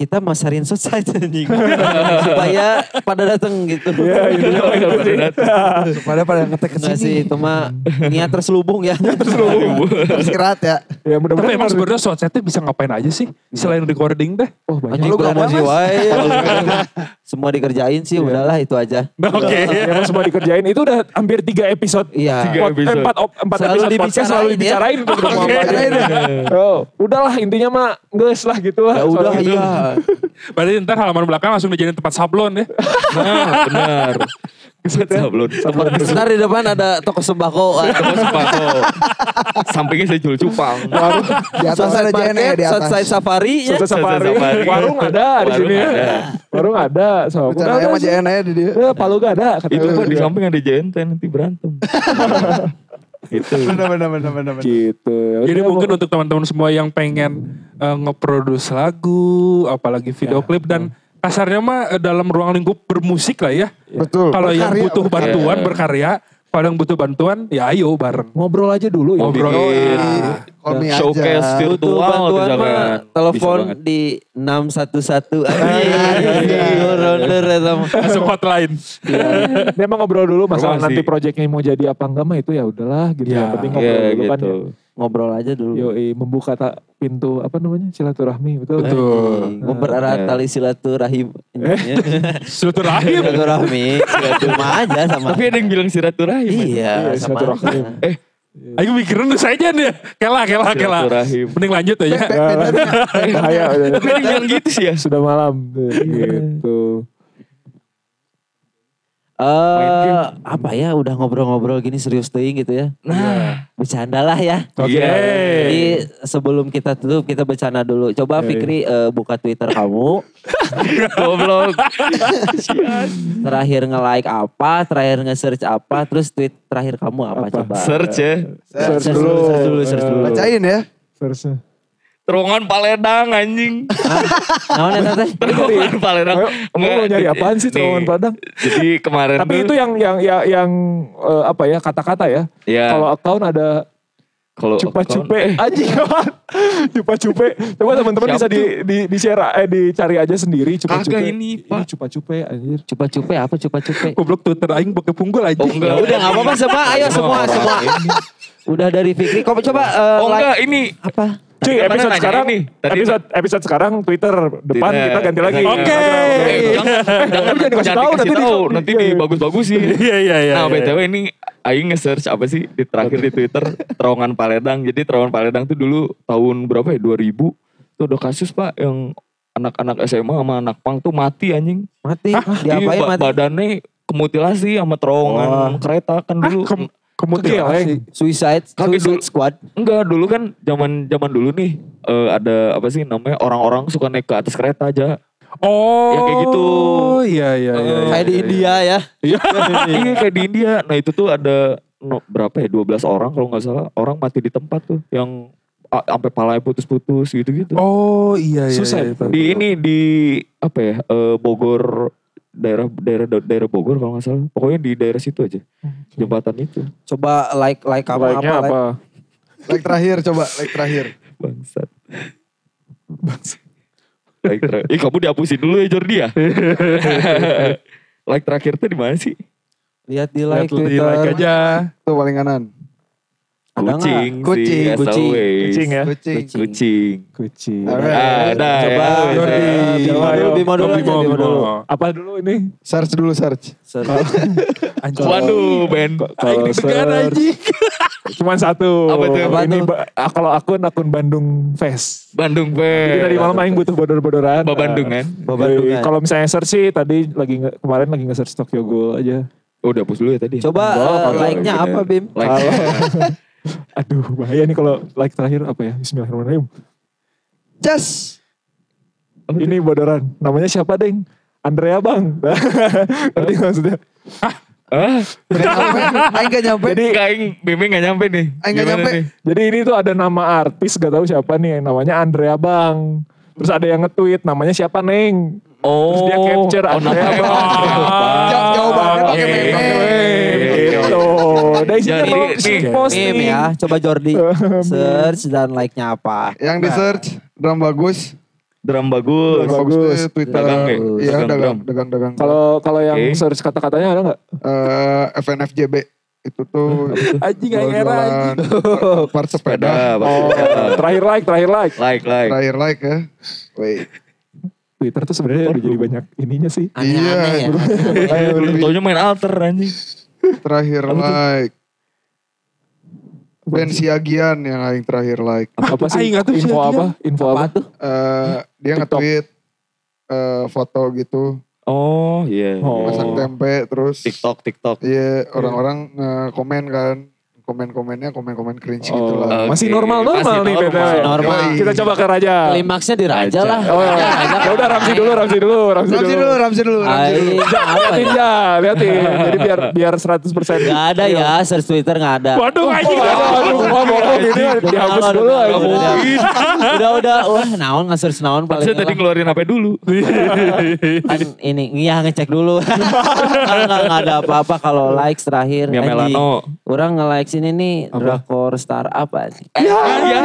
[SPEAKER 5] kita masarin society anjing. supaya pada datang gitu.
[SPEAKER 3] Ya
[SPEAKER 5] Iya,
[SPEAKER 3] intinya mah itu sih.
[SPEAKER 6] Pada pada ngetek ke
[SPEAKER 5] sih
[SPEAKER 6] sini.
[SPEAKER 5] itu mah niat terselubung ya.
[SPEAKER 6] Terus kerat ya.
[SPEAKER 1] Tapi
[SPEAKER 3] Ya mudah-mudahan
[SPEAKER 1] emang
[SPEAKER 3] harus-
[SPEAKER 1] sebenarnya sotsetnya bisa ngapain aja sih selain recording deh.
[SPEAKER 3] Oh banyak.
[SPEAKER 5] Anjing
[SPEAKER 6] Lu gak ada,
[SPEAKER 5] promosi
[SPEAKER 6] Mas? Iya.
[SPEAKER 5] wae. Semua dikerjain sih udahlah itu aja.
[SPEAKER 1] Oke.
[SPEAKER 3] Iya, Emang semua dikerjain itu udah hampir tiga episode.
[SPEAKER 5] Iya.
[SPEAKER 2] Tiga
[SPEAKER 3] Pod-
[SPEAKER 2] episode.
[SPEAKER 3] Empat, op- empat
[SPEAKER 5] Selalu
[SPEAKER 3] episode podcast
[SPEAKER 5] dibicarain
[SPEAKER 3] selalu dibicarain. tuh, udah
[SPEAKER 5] ya.
[SPEAKER 3] mau
[SPEAKER 6] Oke.
[SPEAKER 3] apa aja. Oh, udahlah intinya mah geus lah gitu lah.
[SPEAKER 5] Ya udah
[SPEAKER 3] Soalnya-
[SPEAKER 5] iya.
[SPEAKER 1] Berarti ntar halaman belakang langsung dijadiin tempat sablon ya.
[SPEAKER 2] Nah, benar.
[SPEAKER 3] ya.
[SPEAKER 2] Sablon. Tempat
[SPEAKER 5] Ntar di depan ada toko sembako.
[SPEAKER 2] sembako. Sampingnya saya jual cupang.
[SPEAKER 3] Baru
[SPEAKER 6] Di atas ada JNE di
[SPEAKER 5] Southside
[SPEAKER 6] atas.
[SPEAKER 5] Safari ya.
[SPEAKER 3] Sukses safari.
[SPEAKER 2] Safari.
[SPEAKER 3] Warung ada di
[SPEAKER 2] Warung
[SPEAKER 3] sini. ya.
[SPEAKER 2] ada.
[SPEAKER 3] Warung ada. So,
[SPEAKER 6] Bercanda
[SPEAKER 3] udah
[SPEAKER 6] sama ya,
[SPEAKER 3] ada.
[SPEAKER 6] JNE di dia.
[SPEAKER 2] Iya.
[SPEAKER 3] Eh, Palu gak ada. Iya. kata
[SPEAKER 2] Itu
[SPEAKER 3] lu
[SPEAKER 2] kan di
[SPEAKER 3] juga.
[SPEAKER 2] samping ada jenten nanti berantem. itu.
[SPEAKER 6] Benar benar benar benar. benar.
[SPEAKER 3] Gitu.
[SPEAKER 1] Jadi
[SPEAKER 3] Udah,
[SPEAKER 1] mungkin
[SPEAKER 3] mau-
[SPEAKER 1] untuk teman-teman semua yang pengen eh, ngeproduce lagu, apalagi video klip dan kasarnya mah eh, dalam ruang lingkup bermusik lah ya.
[SPEAKER 6] Betul.
[SPEAKER 1] Kalau yang
[SPEAKER 6] Berkarya,
[SPEAKER 1] butuh bantuan berkarya, kalau yang butuh bantuan ya ayo bareng.
[SPEAKER 3] ngobrol aja dulu ya.
[SPEAKER 1] Ngobrol.
[SPEAKER 2] Bikin
[SPEAKER 6] Call me aja.
[SPEAKER 2] Nah, showcase
[SPEAKER 5] Butuh
[SPEAKER 2] virtual
[SPEAKER 5] bantuan
[SPEAKER 2] misalkan.
[SPEAKER 5] mah
[SPEAKER 2] Bisa
[SPEAKER 5] telepon
[SPEAKER 2] banget.
[SPEAKER 5] di 611.
[SPEAKER 6] iya.
[SPEAKER 5] Rounder eta mah.
[SPEAKER 1] Masuk hotline.
[SPEAKER 3] Iya. Memang ngobrol dulu masalah
[SPEAKER 2] Informasi.
[SPEAKER 3] nanti proyeknya mau jadi apa enggak mah itu ya udahlah gitu.
[SPEAKER 1] Iya,
[SPEAKER 3] Yang penting ngobrol
[SPEAKER 2] iya,
[SPEAKER 3] dulu kan.
[SPEAKER 2] gitu.
[SPEAKER 3] ya.
[SPEAKER 5] ngobrol aja dulu.
[SPEAKER 3] Yoi, membuka ta- pintu apa namanya silaturahmi betul.
[SPEAKER 1] Betul.
[SPEAKER 5] Mempererat
[SPEAKER 2] Oke.
[SPEAKER 5] tali silaturahim.
[SPEAKER 1] Silaturahim.
[SPEAKER 5] Silaturahmi, silaturahmi aja sama.
[SPEAKER 2] Tapi ada yang bilang silaturahim.
[SPEAKER 3] Iya,
[SPEAKER 5] Iya, sama.
[SPEAKER 3] silaturahim.
[SPEAKER 1] Aku mikirin tuh saja deh. Kela, kela, kela.
[SPEAKER 2] Silaturahim.
[SPEAKER 1] Mending lanjut
[SPEAKER 6] Pe-
[SPEAKER 1] aja.
[SPEAKER 6] pe- Peternya,
[SPEAKER 3] Bahaya
[SPEAKER 2] Tapi ada yang bilang gitu sih ya.
[SPEAKER 3] sudah malam gitu.
[SPEAKER 5] Eh, apa ya udah ngobrol-ngobrol gini serius teuing gitu ya.
[SPEAKER 2] Nah,
[SPEAKER 5] Bercanda lah ya.
[SPEAKER 1] Oke.
[SPEAKER 2] Iya.
[SPEAKER 5] Jadi sebelum kita tutup kita bercanda dulu. Coba Fikri eh, buka Twitter kamu.
[SPEAKER 2] goblok.
[SPEAKER 5] Terakhir nge-like apa, terakhir nge-search apa, terus tweet terakhir kamu apa,
[SPEAKER 3] Apa?
[SPEAKER 5] coba.
[SPEAKER 2] Search ya.
[SPEAKER 5] Search dulu, search dulu, search dulu.
[SPEAKER 6] bacain ya.
[SPEAKER 3] Seharusnya.
[SPEAKER 2] Terowongan Paledang anjing.
[SPEAKER 5] Naon ya, eta teh?
[SPEAKER 2] Terowongan Paledang.
[SPEAKER 3] Ayo, kamu
[SPEAKER 2] Enggak,
[SPEAKER 3] mau nyari
[SPEAKER 2] jadi-
[SPEAKER 3] apaan sih
[SPEAKER 2] nih,
[SPEAKER 3] terowongan Padang?
[SPEAKER 2] Jadi kemarin
[SPEAKER 3] Tapi
[SPEAKER 2] tuh-
[SPEAKER 3] itu yang yang yang, yang, eh, apa ya kata-kata ya.
[SPEAKER 2] Iya.
[SPEAKER 3] Kalau account ada
[SPEAKER 2] kalau
[SPEAKER 3] cupa-cupe anjing cupa-cupe. Coba teman-teman
[SPEAKER 2] Siapa
[SPEAKER 3] bisa di di di share eh dicari aja sendiri cupa-cupe.
[SPEAKER 2] Kagak ini, Pak.
[SPEAKER 3] cupa-cupe anjir.
[SPEAKER 5] Coba cupe apa coba cupe?
[SPEAKER 1] Goblok Twitter aing pakai punggul aja.
[SPEAKER 2] Oh, enggak.
[SPEAKER 5] Udah nggak apa-apa semua, ayo semua
[SPEAKER 2] Orang
[SPEAKER 5] semua. Udah dari Fikri, kok coba eh,
[SPEAKER 2] Oh
[SPEAKER 5] like
[SPEAKER 2] enggak ini
[SPEAKER 5] apa?
[SPEAKER 3] Cuy,
[SPEAKER 2] kemarin
[SPEAKER 3] episode
[SPEAKER 2] kan nanya
[SPEAKER 3] sekarang
[SPEAKER 2] ini.
[SPEAKER 3] nih.
[SPEAKER 2] Tadi-
[SPEAKER 3] Episode episode sekarang Twitter depan
[SPEAKER 2] Twitter.
[SPEAKER 3] kita ganti lagi.
[SPEAKER 2] Oke.
[SPEAKER 3] Ganti lagi.
[SPEAKER 2] Eh, jangan, jangan,
[SPEAKER 3] jangan dikasih tahu, nanti di-
[SPEAKER 2] tahu, nanti
[SPEAKER 3] iya,
[SPEAKER 2] di
[SPEAKER 3] iya.
[SPEAKER 2] bagus-bagus sih.
[SPEAKER 1] Iya, iya, iya.
[SPEAKER 2] Nah,
[SPEAKER 1] iya.
[SPEAKER 2] BTW ini Aing nge-search apa sih di terakhir di Twitter terowongan Paledang. Jadi terowongan Paledang tuh dulu tahun berapa ya? 2000 tuh ada kasus Pak yang anak-anak SMA sama anak pang tuh mati anjing.
[SPEAKER 5] Mati,
[SPEAKER 2] Jadi
[SPEAKER 5] diapain
[SPEAKER 2] ba-
[SPEAKER 5] mati?
[SPEAKER 2] Badannya kemutilasi sama terowongan kereta kan
[SPEAKER 1] Ah,
[SPEAKER 2] dulu.
[SPEAKER 1] kem kemutilasi.
[SPEAKER 3] Kegeleng.
[SPEAKER 5] Suicide,
[SPEAKER 2] Kaki
[SPEAKER 5] suicide
[SPEAKER 2] dulu.
[SPEAKER 5] squad.
[SPEAKER 2] Enggak, dulu kan zaman zaman dulu nih eh, ada apa sih namanya orang-orang suka naik ke atas kereta aja.
[SPEAKER 1] Oh.
[SPEAKER 2] Ya, kayak gitu.
[SPEAKER 1] Iya, iya, iya. iya,
[SPEAKER 5] Kayak di
[SPEAKER 1] iya,
[SPEAKER 5] India ya.
[SPEAKER 2] iya kayak di India. Nah itu tuh ada no, berapa ya 12 orang kalau nggak salah orang mati di tempat tuh yang a- sampai palanya putus-putus gitu-gitu.
[SPEAKER 1] Oh, iya, iya.
[SPEAKER 3] Susah.
[SPEAKER 1] iya, iya.
[SPEAKER 2] di ini di apa ya eh, Bogor daerah daerah daerah Bogor kalau nggak salah. Pokoknya di daerah situ aja jembatan itu
[SPEAKER 5] Coba like like kamu apa,
[SPEAKER 3] Like-nya
[SPEAKER 5] like.
[SPEAKER 3] apa?
[SPEAKER 6] Like terakhir coba, like terakhir.
[SPEAKER 2] bangsat. Bangsat. Like terakhir. Ih kamu dihapusin dulu ya Jordi ya. like terakhir tuh di mana sih?
[SPEAKER 5] Lihat di
[SPEAKER 1] Lihat
[SPEAKER 5] like
[SPEAKER 1] lu di
[SPEAKER 5] Twitter.
[SPEAKER 1] like aja.
[SPEAKER 6] Tuh paling kanan.
[SPEAKER 5] Ada nggak?
[SPEAKER 2] Kucing,
[SPEAKER 6] Kucing,
[SPEAKER 2] sih, as
[SPEAKER 5] kucing,
[SPEAKER 2] always.
[SPEAKER 3] Kucing ya.
[SPEAKER 6] Kucing.
[SPEAKER 2] Kucing.
[SPEAKER 3] Kucing.
[SPEAKER 6] Alright.
[SPEAKER 2] Ah, ada
[SPEAKER 5] Coba
[SPEAKER 2] ya.
[SPEAKER 1] Jordi.
[SPEAKER 5] Bimo
[SPEAKER 3] Ayo,
[SPEAKER 5] dulu, Bimo dulu, aja,
[SPEAKER 1] Bimo,
[SPEAKER 5] Bimo
[SPEAKER 1] Bimo.
[SPEAKER 5] dulu.
[SPEAKER 3] Apa dulu ini?
[SPEAKER 6] Search dulu search.
[SPEAKER 1] Anjing.
[SPEAKER 2] Waduh, Ben.
[SPEAKER 1] Aing
[SPEAKER 3] Kalau
[SPEAKER 1] deg-degan
[SPEAKER 3] search-
[SPEAKER 1] anjing.
[SPEAKER 3] Cuman satu.
[SPEAKER 2] Apa tuh? Apa
[SPEAKER 3] Ini
[SPEAKER 2] tuh?
[SPEAKER 3] ba- ah, kalau akun akun Bandung Fest.
[SPEAKER 2] Bandung,
[SPEAKER 3] Jadi
[SPEAKER 2] Ben.
[SPEAKER 3] tadi malam aing butuh bodor-bodoran.
[SPEAKER 2] Bapak Bandung
[SPEAKER 3] Ah.
[SPEAKER 2] kan?
[SPEAKER 5] Bandungan.
[SPEAKER 3] Jadi Kalau misalnya search sih tadi lagi nge- kemarin lagi nge-search Tokyo Ghoul aja.
[SPEAKER 2] Oh, udah hapus dulu ya tadi.
[SPEAKER 5] Coba
[SPEAKER 2] Wah,
[SPEAKER 5] eh,
[SPEAKER 2] kagak,
[SPEAKER 5] like-nya
[SPEAKER 2] bener.
[SPEAKER 5] apa Bim?
[SPEAKER 2] Like.
[SPEAKER 3] Aduh bahaya nih kalau like terakhir apa ya? Bismillahirrahmanirrahim.
[SPEAKER 6] Just
[SPEAKER 3] Ini bodoran. Namanya siapa, Deng? Andrea, Bang. Ngerti maksudnya?
[SPEAKER 2] Ah,
[SPEAKER 6] Gak nyampe. Aing gak nyampe.
[SPEAKER 2] jadi kain Bim gak nyampe nih.
[SPEAKER 6] Aing Ah, nggak
[SPEAKER 2] Gimana
[SPEAKER 6] nyampe.
[SPEAKER 2] nih?
[SPEAKER 3] Jadi ini tuh ada nama artis gak tahu siapa nih namanya Andrea Bang. Terus ada yang nge-tweet namanya siapa Neng.
[SPEAKER 2] Oh.
[SPEAKER 3] Terus dia capture
[SPEAKER 2] oh,
[SPEAKER 3] Andrea
[SPEAKER 2] namanya
[SPEAKER 3] Bang.
[SPEAKER 2] Bang.
[SPEAKER 6] Jauh jawabannya
[SPEAKER 2] Oke.
[SPEAKER 6] pakai meme.
[SPEAKER 2] Oke.
[SPEAKER 3] Gitu. Dari sini
[SPEAKER 2] Jadi,
[SPEAKER 3] lo
[SPEAKER 2] nih,
[SPEAKER 3] posting.
[SPEAKER 5] Meme ya, coba Jordi search dan like-nya apa.
[SPEAKER 6] Yang di search drum bagus.
[SPEAKER 2] Drum Nah. bagus.
[SPEAKER 6] Drum bagus
[SPEAKER 3] bagus.
[SPEAKER 6] tuh Twitter.
[SPEAKER 2] Dagang ya?
[SPEAKER 6] Iya
[SPEAKER 2] Dagang drum.
[SPEAKER 6] dagang dagang dagang.
[SPEAKER 3] Kalau kalau yang
[SPEAKER 2] Oke.
[SPEAKER 3] search kata-katanya ada gak?
[SPEAKER 6] Eh, FNFJB itu tuh
[SPEAKER 1] Anjing aing era
[SPEAKER 6] jualan
[SPEAKER 1] anjing.
[SPEAKER 6] part sepeda.
[SPEAKER 2] Sepeda. pasti sepeda.
[SPEAKER 3] Oh, terakhir like, terakhir like.
[SPEAKER 2] Like, like.
[SPEAKER 6] Terakhir like ya. Wait.
[SPEAKER 3] Twitter tuh sebenarnya udah jadi banyak ininya sih.
[SPEAKER 5] Aneh-aneh ya.
[SPEAKER 6] Iya.
[SPEAKER 2] Eh, Belum taunya main alter anjing.
[SPEAKER 6] Terakhir like. Ben Siagian yang aing terakhir like.
[SPEAKER 3] Apa sih?
[SPEAKER 1] Aing nggak tahu sih
[SPEAKER 3] Info
[SPEAKER 1] artinya.
[SPEAKER 3] apa? Info apa?
[SPEAKER 5] Apa tuh?
[SPEAKER 6] Eh, dia
[SPEAKER 3] TikTok.
[SPEAKER 6] nge-tweet eh, foto gitu
[SPEAKER 2] Oh, iya.
[SPEAKER 3] Oh.
[SPEAKER 6] masak tempe terus
[SPEAKER 2] TikTok, TikTok.
[SPEAKER 6] Iya, orang-orang komen kan. Komen-komennya komen-komen cringe gitu lah.
[SPEAKER 2] Oke.
[SPEAKER 3] Masih normal-normal
[SPEAKER 2] Masih
[SPEAKER 3] nih
[SPEAKER 2] normal,
[SPEAKER 3] BTW.
[SPEAKER 2] masih
[SPEAKER 5] normal.
[SPEAKER 3] Kita coba ke Raja.
[SPEAKER 5] Klimaksnya di Raja
[SPEAKER 2] Raja.
[SPEAKER 5] lah.
[SPEAKER 3] Oh, ya. Ya udah Ramzi dulu, Ramzi dulu, Ramzi
[SPEAKER 6] Ramsi
[SPEAKER 3] dulu.
[SPEAKER 6] dulu, Ramsi dulu, Ramsi dulu.
[SPEAKER 5] Aing, apa
[SPEAKER 3] Lihatin
[SPEAKER 5] ya?
[SPEAKER 3] ya, lihatin. Jadi biar biar 100%
[SPEAKER 5] Gak ada ya, search Twitter gak ada.
[SPEAKER 1] Waduh
[SPEAKER 3] Oh,
[SPEAKER 1] anjing.
[SPEAKER 3] aduh, aduh, wah bohong ini dihapus
[SPEAKER 5] Udah,
[SPEAKER 3] dulu.
[SPEAKER 5] udah,
[SPEAKER 3] aja.
[SPEAKER 5] udah, udah. Udah, udah. Wah, naon nge-search naon paling.
[SPEAKER 2] Saya
[SPEAKER 5] lah.
[SPEAKER 2] tadi ngeluarin apa dulu?
[SPEAKER 5] Kan ini, iya ngecek dulu. Kalau nggak nggak ada apa-apa kalau likes terakhir.
[SPEAKER 2] Mia
[SPEAKER 5] anjing.
[SPEAKER 2] Melano.
[SPEAKER 5] Orang nge-likes ini nih, drakor startup anjing. Iya.
[SPEAKER 2] Ya.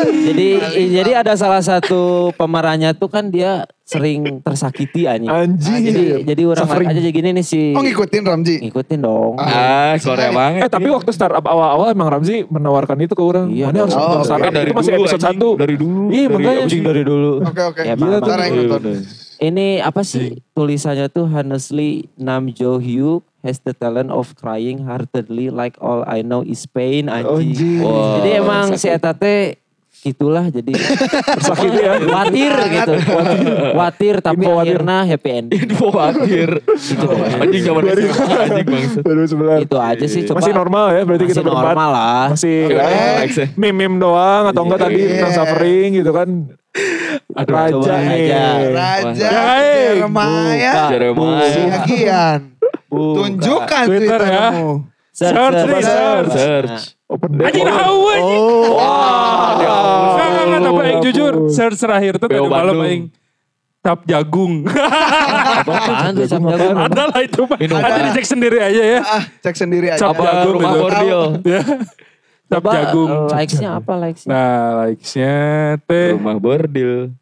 [SPEAKER 5] Jadi jadi ada salah satu pemerannya tuh kan dia sering tersakiti anjing. Nah,
[SPEAKER 3] Anjing.
[SPEAKER 5] Jadi jadi orang
[SPEAKER 3] Suffering.
[SPEAKER 5] aja jadi gini nih si
[SPEAKER 6] Oh ngikutin Ramji.
[SPEAKER 5] ngikutin dong.
[SPEAKER 2] Ah, Korea banget.
[SPEAKER 3] Eh tapi waktu startup awal-awal emang Ramzi menawarkan itu ke orang.
[SPEAKER 5] Iya,
[SPEAKER 3] Mana harus
[SPEAKER 6] dong.
[SPEAKER 3] nonton
[SPEAKER 6] Oh,
[SPEAKER 3] startup
[SPEAKER 6] tapi
[SPEAKER 3] itu masih episode
[SPEAKER 2] anjing.
[SPEAKER 3] 1.
[SPEAKER 2] Dari dulu.
[SPEAKER 3] Iya, makanya.
[SPEAKER 2] anjing dari dulu.
[SPEAKER 6] Oke oke.
[SPEAKER 5] Ya,
[SPEAKER 6] Gila
[SPEAKER 5] Bang,
[SPEAKER 6] Ntar
[SPEAKER 5] Bang.
[SPEAKER 6] yang nonton.
[SPEAKER 5] Ini apa sih tulisannya tuh honestly Nam Jo Hyuk has the talent of crying heartedly like all I know is pain anjing.
[SPEAKER 3] Anjing.
[SPEAKER 2] Wow.
[SPEAKER 5] Jadi emang si Eta teh gitulah jadi
[SPEAKER 3] Tersakiti ya.
[SPEAKER 5] khawatir gitu. Khawatir tapi
[SPEAKER 3] Info watir.
[SPEAKER 5] akhirnya happy ending.
[SPEAKER 2] Info akhir. Anjing zaman SMA, anjing bangsa.
[SPEAKER 3] 2009.
[SPEAKER 5] Itu aja sih coba.
[SPEAKER 3] Iya. Masih normal ya berarti
[SPEAKER 5] Masih
[SPEAKER 3] kita berempat.
[SPEAKER 5] normal lah.
[SPEAKER 3] Masih
[SPEAKER 2] Relax ya.
[SPEAKER 3] mimim doang atau enggak tadi
[SPEAKER 6] Iya.
[SPEAKER 3] tentang suffering gitu kan.
[SPEAKER 5] Aduh,
[SPEAKER 3] Raja
[SPEAKER 5] coba
[SPEAKER 3] nih.
[SPEAKER 5] aja.
[SPEAKER 6] Raja
[SPEAKER 1] Wah.
[SPEAKER 6] Jeremiah.
[SPEAKER 2] Jeremiah.
[SPEAKER 6] Siagian. Tunjukkan
[SPEAKER 1] Twitter
[SPEAKER 6] Twitter
[SPEAKER 1] ya.
[SPEAKER 5] Search,
[SPEAKER 1] Search,
[SPEAKER 5] search,
[SPEAKER 1] search.
[SPEAKER 2] Search.
[SPEAKER 5] Nah.
[SPEAKER 3] Open
[SPEAKER 1] Anjing
[SPEAKER 3] door.
[SPEAKER 1] hau anjing.
[SPEAKER 2] Oh, ya
[SPEAKER 3] Oh.
[SPEAKER 1] Enggak, enggak, enggak, tapi aing jujur. Search terakhir tuh tadi
[SPEAKER 2] Beo
[SPEAKER 1] malam
[SPEAKER 2] Bandung.
[SPEAKER 1] aling tap jagung.
[SPEAKER 5] Apaan tuh Sam Jago?
[SPEAKER 1] Ada lah itu. Pak.
[SPEAKER 2] Minum.
[SPEAKER 1] Nanti dicek sendiri aja ya.
[SPEAKER 6] Ah, cek sendiri aja.
[SPEAKER 1] Cap
[SPEAKER 2] Apa
[SPEAKER 1] jagung
[SPEAKER 2] rumah
[SPEAKER 1] itu.
[SPEAKER 2] bordil?
[SPEAKER 1] Ya. Tap
[SPEAKER 5] Coba,
[SPEAKER 1] jagung.
[SPEAKER 5] eh, Likes-nya apa likes-nya?
[SPEAKER 1] Nah, likes-nya teh.
[SPEAKER 2] Rumah bordil.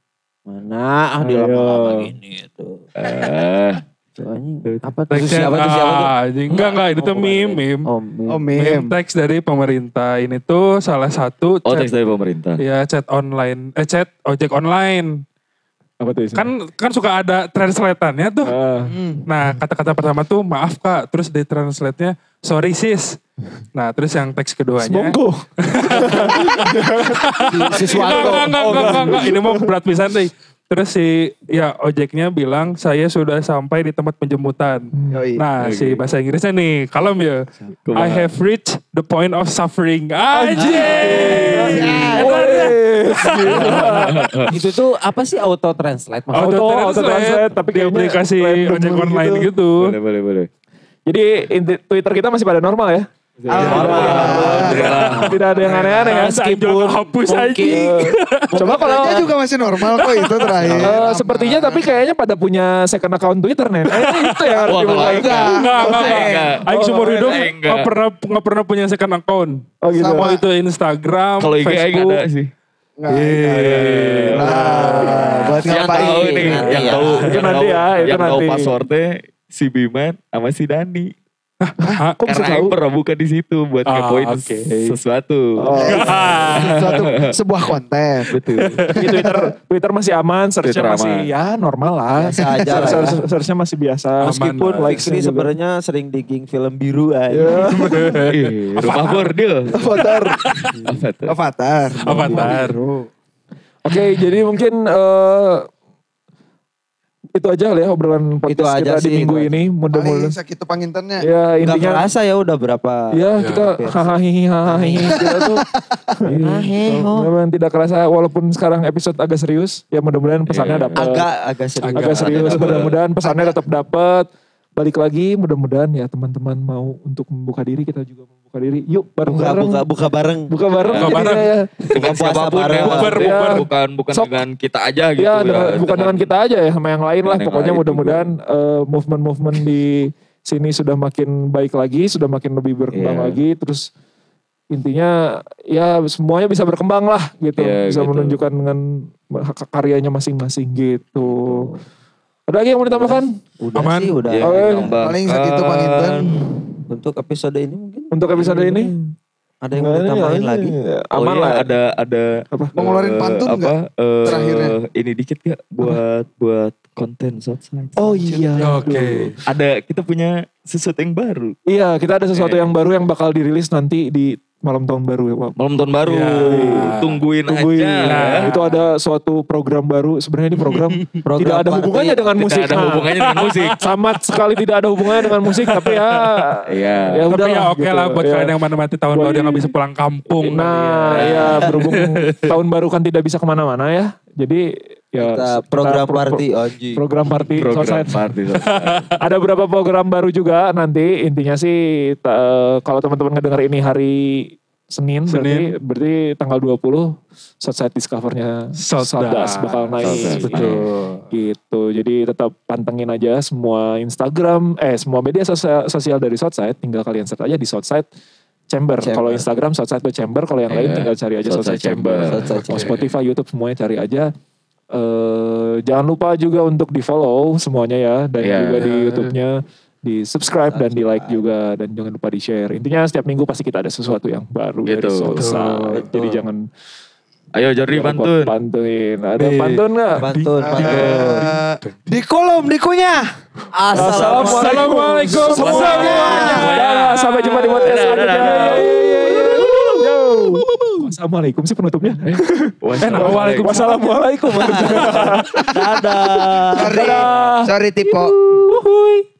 [SPEAKER 5] Mana ah di
[SPEAKER 3] Ayo.
[SPEAKER 5] lama-lama gini tuh.
[SPEAKER 2] Eh,
[SPEAKER 5] Tuh, anjing. Apa tuh
[SPEAKER 1] Likes-nya
[SPEAKER 5] siapa tuh siapa tuh?
[SPEAKER 1] ah, anjing. Enggak, enggak, ini tuh
[SPEAKER 5] Oh,
[SPEAKER 1] meme, meme.
[SPEAKER 5] Oh, meme.
[SPEAKER 6] Oh,
[SPEAKER 1] Meme
[SPEAKER 6] meme.
[SPEAKER 1] teks dari pemerintah. Ini tuh salah satu
[SPEAKER 2] oh,
[SPEAKER 1] chat,
[SPEAKER 2] teks dari pemerintah.
[SPEAKER 3] Iya.
[SPEAKER 1] ya chat online, eh chat ojek online.
[SPEAKER 3] Apa tuh isinya?
[SPEAKER 1] Kan kan suka ada translatannya tuh.
[SPEAKER 3] Ah.
[SPEAKER 1] Nah, kata-kata pertama tuh maaf Kak, terus di translate-nya sorry sis. Nah, terus yang teks keduanya.
[SPEAKER 3] Monggo.
[SPEAKER 1] Enggak, enggak, enggak, enggak, enggak, enggak. Ini mau berat pisan deh. Terus si ya ojeknya bilang saya sudah sampai di tempat penjemputan.
[SPEAKER 3] Hmm.
[SPEAKER 6] Yoi.
[SPEAKER 2] Iya,
[SPEAKER 1] Nah, si bahasa Inggrisnya nih, kalem ya.
[SPEAKER 2] Kumaha?
[SPEAKER 1] I have reached the point of suffering.
[SPEAKER 3] Iya,
[SPEAKER 1] Anjing. ya?
[SPEAKER 5] Itu tuh apa sih auto translate maksudnya?
[SPEAKER 1] Auto
[SPEAKER 3] auto translate,
[SPEAKER 1] translate, tapi
[SPEAKER 3] tapi
[SPEAKER 1] di
[SPEAKER 3] kayaknya
[SPEAKER 1] aplikasi
[SPEAKER 3] random
[SPEAKER 1] ojek online
[SPEAKER 3] gitu.
[SPEAKER 1] gitu.
[SPEAKER 2] Boleh, boleh, boleh.
[SPEAKER 3] Jadi inti- Twitter kita masih pada normal ya.
[SPEAKER 6] iya,
[SPEAKER 2] Alhamdulillah.
[SPEAKER 3] Tidak ada yang aneh-aneh ya.
[SPEAKER 1] Meskipun Ah, hapus anjing.
[SPEAKER 3] Coba kalau
[SPEAKER 6] Raja juga masih normal kok itu terakhir.
[SPEAKER 3] Eh, sepertinya tapi kayaknya pada punya second account Twitter nih. Kayaknya itu yang harus
[SPEAKER 2] Wah,
[SPEAKER 3] dibuka.
[SPEAKER 6] enggak.
[SPEAKER 1] Enggak, enggak,
[SPEAKER 6] Enggak.
[SPEAKER 1] enggak. Aing
[SPEAKER 2] Oh,
[SPEAKER 1] seumur hidup
[SPEAKER 2] enggak.
[SPEAKER 1] enggak pernah enggak pernah punya second account.
[SPEAKER 3] Oh gitu.
[SPEAKER 6] Sama.
[SPEAKER 1] Mau itu Instagram,
[SPEAKER 2] Kalau IG aing
[SPEAKER 1] Facebook.
[SPEAKER 2] ada sih.
[SPEAKER 6] Enggak, enggak. Nah, buat
[SPEAKER 5] Jangan
[SPEAKER 2] Yang iya. tahu
[SPEAKER 6] ngapain?
[SPEAKER 5] Nanti,
[SPEAKER 2] nih,
[SPEAKER 5] nanti
[SPEAKER 2] yang
[SPEAKER 5] ya.
[SPEAKER 2] tahu,
[SPEAKER 3] Iya, Itu
[SPEAKER 2] yang
[SPEAKER 3] nanti
[SPEAKER 2] tahu-
[SPEAKER 3] ya, itu
[SPEAKER 2] yang tahu
[SPEAKER 3] nanti.
[SPEAKER 2] passwordnya si Biman sama si Dani.
[SPEAKER 1] Hah?
[SPEAKER 3] Kok bisa
[SPEAKER 2] Karena aing
[SPEAKER 3] tahu?
[SPEAKER 2] pernah buka di situ buat
[SPEAKER 1] Ah,
[SPEAKER 2] kepoin
[SPEAKER 1] oke.
[SPEAKER 2] sesuatu.
[SPEAKER 3] Oh.
[SPEAKER 6] Suatu sebuah konten.
[SPEAKER 2] Betul.
[SPEAKER 3] Di Twitter Twitter masih aman, searchnya
[SPEAKER 2] Twitter aman.
[SPEAKER 3] masih ya normal lah.
[SPEAKER 5] Biasa aja lah
[SPEAKER 3] Search-
[SPEAKER 5] ya.
[SPEAKER 3] search- Searchnya masih biasa.
[SPEAKER 1] Aman
[SPEAKER 3] Meskipun
[SPEAKER 1] lah.
[SPEAKER 3] likes
[SPEAKER 5] Ini sebenarnya sering digging film biru aja.
[SPEAKER 2] Ih, Rumah bordil.
[SPEAKER 3] Twitter.
[SPEAKER 2] Apa tuh?
[SPEAKER 6] Avatar.
[SPEAKER 1] Avatar.
[SPEAKER 3] Oke, jadi mungkin eh, itu aja lah ya obrolan
[SPEAKER 5] Itu
[SPEAKER 3] podcast
[SPEAKER 5] aja
[SPEAKER 3] kita di
[SPEAKER 5] sih,
[SPEAKER 3] minggu
[SPEAKER 5] itu aja.
[SPEAKER 3] ini.
[SPEAKER 6] Paling
[SPEAKER 3] Mudah-mudahan
[SPEAKER 6] sakit panginternya.
[SPEAKER 3] ya
[SPEAKER 5] Gak
[SPEAKER 3] intinya
[SPEAKER 5] kerasa ya udah berapa.
[SPEAKER 3] Ya, kita hahaha hahaha kita tuh Iya,
[SPEAKER 5] Haheho.
[SPEAKER 3] memang tidak kerasa walaupun sekarang episode agak serius ya mudah-mudahan pesannya
[SPEAKER 2] Iya.
[SPEAKER 3] dapat
[SPEAKER 5] Agak agak serius.
[SPEAKER 3] agak serius
[SPEAKER 2] dapet.
[SPEAKER 3] mudah-mudahan pesannya tetap dapat balik lagi mudah-mudahan ya teman-teman mau untuk membuka diri kita juga membuka diri yuk
[SPEAKER 5] Buka
[SPEAKER 3] bareng-bareng
[SPEAKER 5] buka buka bareng.
[SPEAKER 3] buka bareng
[SPEAKER 1] Buka
[SPEAKER 3] jadinya
[SPEAKER 1] bareng.
[SPEAKER 3] ya.
[SPEAKER 2] Dengan
[SPEAKER 5] Buka puasa
[SPEAKER 2] siapapun ya.
[SPEAKER 5] bareng.
[SPEAKER 1] Bubar,
[SPEAKER 2] maksudnya
[SPEAKER 3] bubar.
[SPEAKER 2] Bukan, bukan
[SPEAKER 3] Iya. Sok.
[SPEAKER 2] dengan kita aja gitu.
[SPEAKER 3] ya, dengan, bukan dengan kita aja ya sama yang lain
[SPEAKER 2] Dengan
[SPEAKER 3] lah
[SPEAKER 2] yang
[SPEAKER 3] pokoknya
[SPEAKER 2] lain
[SPEAKER 3] mudah-mudahan eh, movement-movement di sini sudah makin baik lagi sudah makin lebih berkembang
[SPEAKER 2] Iya.
[SPEAKER 3] lagi terus intinya ya semuanya bisa berkembang lah gitu
[SPEAKER 2] Iya,
[SPEAKER 3] bisa
[SPEAKER 2] gitu.
[SPEAKER 3] menunjukkan dengan hak- karyanya masing-masing gitu ada lagi yang mau ditambahkan
[SPEAKER 5] Udah
[SPEAKER 1] Aman.
[SPEAKER 5] sih udah.
[SPEAKER 2] Ya,
[SPEAKER 3] Oke.
[SPEAKER 2] ditambahkan.
[SPEAKER 6] Paling sakit panginten.
[SPEAKER 5] Untuk episode ini mungkin
[SPEAKER 3] untuk episode ini
[SPEAKER 5] ada yang
[SPEAKER 3] Nggak ada,
[SPEAKER 5] mau
[SPEAKER 3] ya,
[SPEAKER 5] ditambahin
[SPEAKER 3] nggak ada.
[SPEAKER 5] lagi.
[SPEAKER 2] Oh
[SPEAKER 3] aman
[SPEAKER 2] iya,
[SPEAKER 3] lah
[SPEAKER 2] ada ada
[SPEAKER 3] Apa?
[SPEAKER 6] Mau ngeluarin
[SPEAKER 2] eh,
[SPEAKER 6] pantun
[SPEAKER 2] apa,
[SPEAKER 6] nggak?
[SPEAKER 2] eh,
[SPEAKER 6] Terakhirnya.
[SPEAKER 2] ini dikit gak buat buat konten Southside.
[SPEAKER 3] oh iya
[SPEAKER 1] Oke.
[SPEAKER 2] Ada kita punya sesuatu yang baru.
[SPEAKER 3] iya kita ada sesuatu
[SPEAKER 2] Oke.
[SPEAKER 3] yang baru yang bakal dirilis nanti di malam tahun baru ya Pak.
[SPEAKER 2] Malam tahun baru.
[SPEAKER 1] Ya.
[SPEAKER 3] Iya.
[SPEAKER 2] Tungguin,
[SPEAKER 3] Tungguin.
[SPEAKER 2] aja.
[SPEAKER 3] Nah, itu ada suatu program baru. Sebenarnya ini program, tidak ada
[SPEAKER 5] party.
[SPEAKER 3] hubungannya dengan
[SPEAKER 2] Tidak
[SPEAKER 3] musik.
[SPEAKER 2] ada
[SPEAKER 3] Nah,
[SPEAKER 2] hubungannya dengan musik.
[SPEAKER 3] sama sekali tidak ada hubungannya dengan musik, tapi ya
[SPEAKER 2] Iya.
[SPEAKER 1] Tapi
[SPEAKER 3] udahlah,
[SPEAKER 1] ya oke
[SPEAKER 3] gitu.
[SPEAKER 1] lah buat
[SPEAKER 3] Ya.
[SPEAKER 1] kalian yang mana mati tahun
[SPEAKER 3] Buat-
[SPEAKER 1] baru yang gak bisa pulang kampung.
[SPEAKER 3] Nah,
[SPEAKER 1] kali
[SPEAKER 3] ya berhubung tahun baru kan tidak bisa kemana-mana ya. Jadi ya
[SPEAKER 5] Kita
[SPEAKER 3] kita
[SPEAKER 5] program
[SPEAKER 3] pro- pro-
[SPEAKER 5] party anjing.
[SPEAKER 3] Program party.
[SPEAKER 2] Program
[SPEAKER 3] Society.
[SPEAKER 2] party.
[SPEAKER 3] ada beberapa program baru juga nanti. Intinya sih ta- eh, kalau teman-teman ngedenger ini hari Senin, berarti berarti tanggal 20 Southside Discover-nya
[SPEAKER 1] Southdas.
[SPEAKER 3] Southdas bakal naik. Iya.
[SPEAKER 2] Southdas,
[SPEAKER 1] betul.
[SPEAKER 3] Gitu. Jadi tetap pantengin aja semua Instagram eh semua media sosial, sosial dari Southside tinggal kalian search aja di Southside Chamber.
[SPEAKER 5] Chamber.
[SPEAKER 3] Kalau Instagram Southside by Chamber, kalau yang lain
[SPEAKER 2] Iya.
[SPEAKER 3] tinggal cari aja Southside,
[SPEAKER 2] Southside
[SPEAKER 3] Chamber.
[SPEAKER 2] Chamber.
[SPEAKER 5] Southside
[SPEAKER 3] Mau
[SPEAKER 5] Chamber.
[SPEAKER 3] Spotify, YouTube semuanya cari aja eh, jangan lupa juga untuk di follow semuanya ya dan
[SPEAKER 2] Iya.
[SPEAKER 3] juga di YouTube-nya di subscribe dan di like juga dan jangan lupa di share. Intinya setiap minggu pasti kita ada sesuatu yang baru dari
[SPEAKER 2] Gitu.
[SPEAKER 3] Soulside.
[SPEAKER 5] Betul.
[SPEAKER 3] Jadi jangan
[SPEAKER 2] Ayo Jordi
[SPEAKER 3] jangan lupa
[SPEAKER 2] pantun.
[SPEAKER 3] pantuin. Ada
[SPEAKER 1] Nih.
[SPEAKER 3] pantun nggak?
[SPEAKER 5] Pantun, pantun.
[SPEAKER 7] Eh, di kolom dikunyah.
[SPEAKER 5] Assalamualaikum.
[SPEAKER 1] Assalamualaikum semuanya.
[SPEAKER 3] Dadah, sampai jumpa di podcast
[SPEAKER 2] Dadah, dadah.
[SPEAKER 3] selanjutnya. Yo. Assalamualaikum sih penutupnya.
[SPEAKER 2] Eh,
[SPEAKER 1] Waalaikumsalam.
[SPEAKER 3] Wassalamualaikum.
[SPEAKER 7] Sorry, sorry Tipo.
[SPEAKER 3] Wuhui.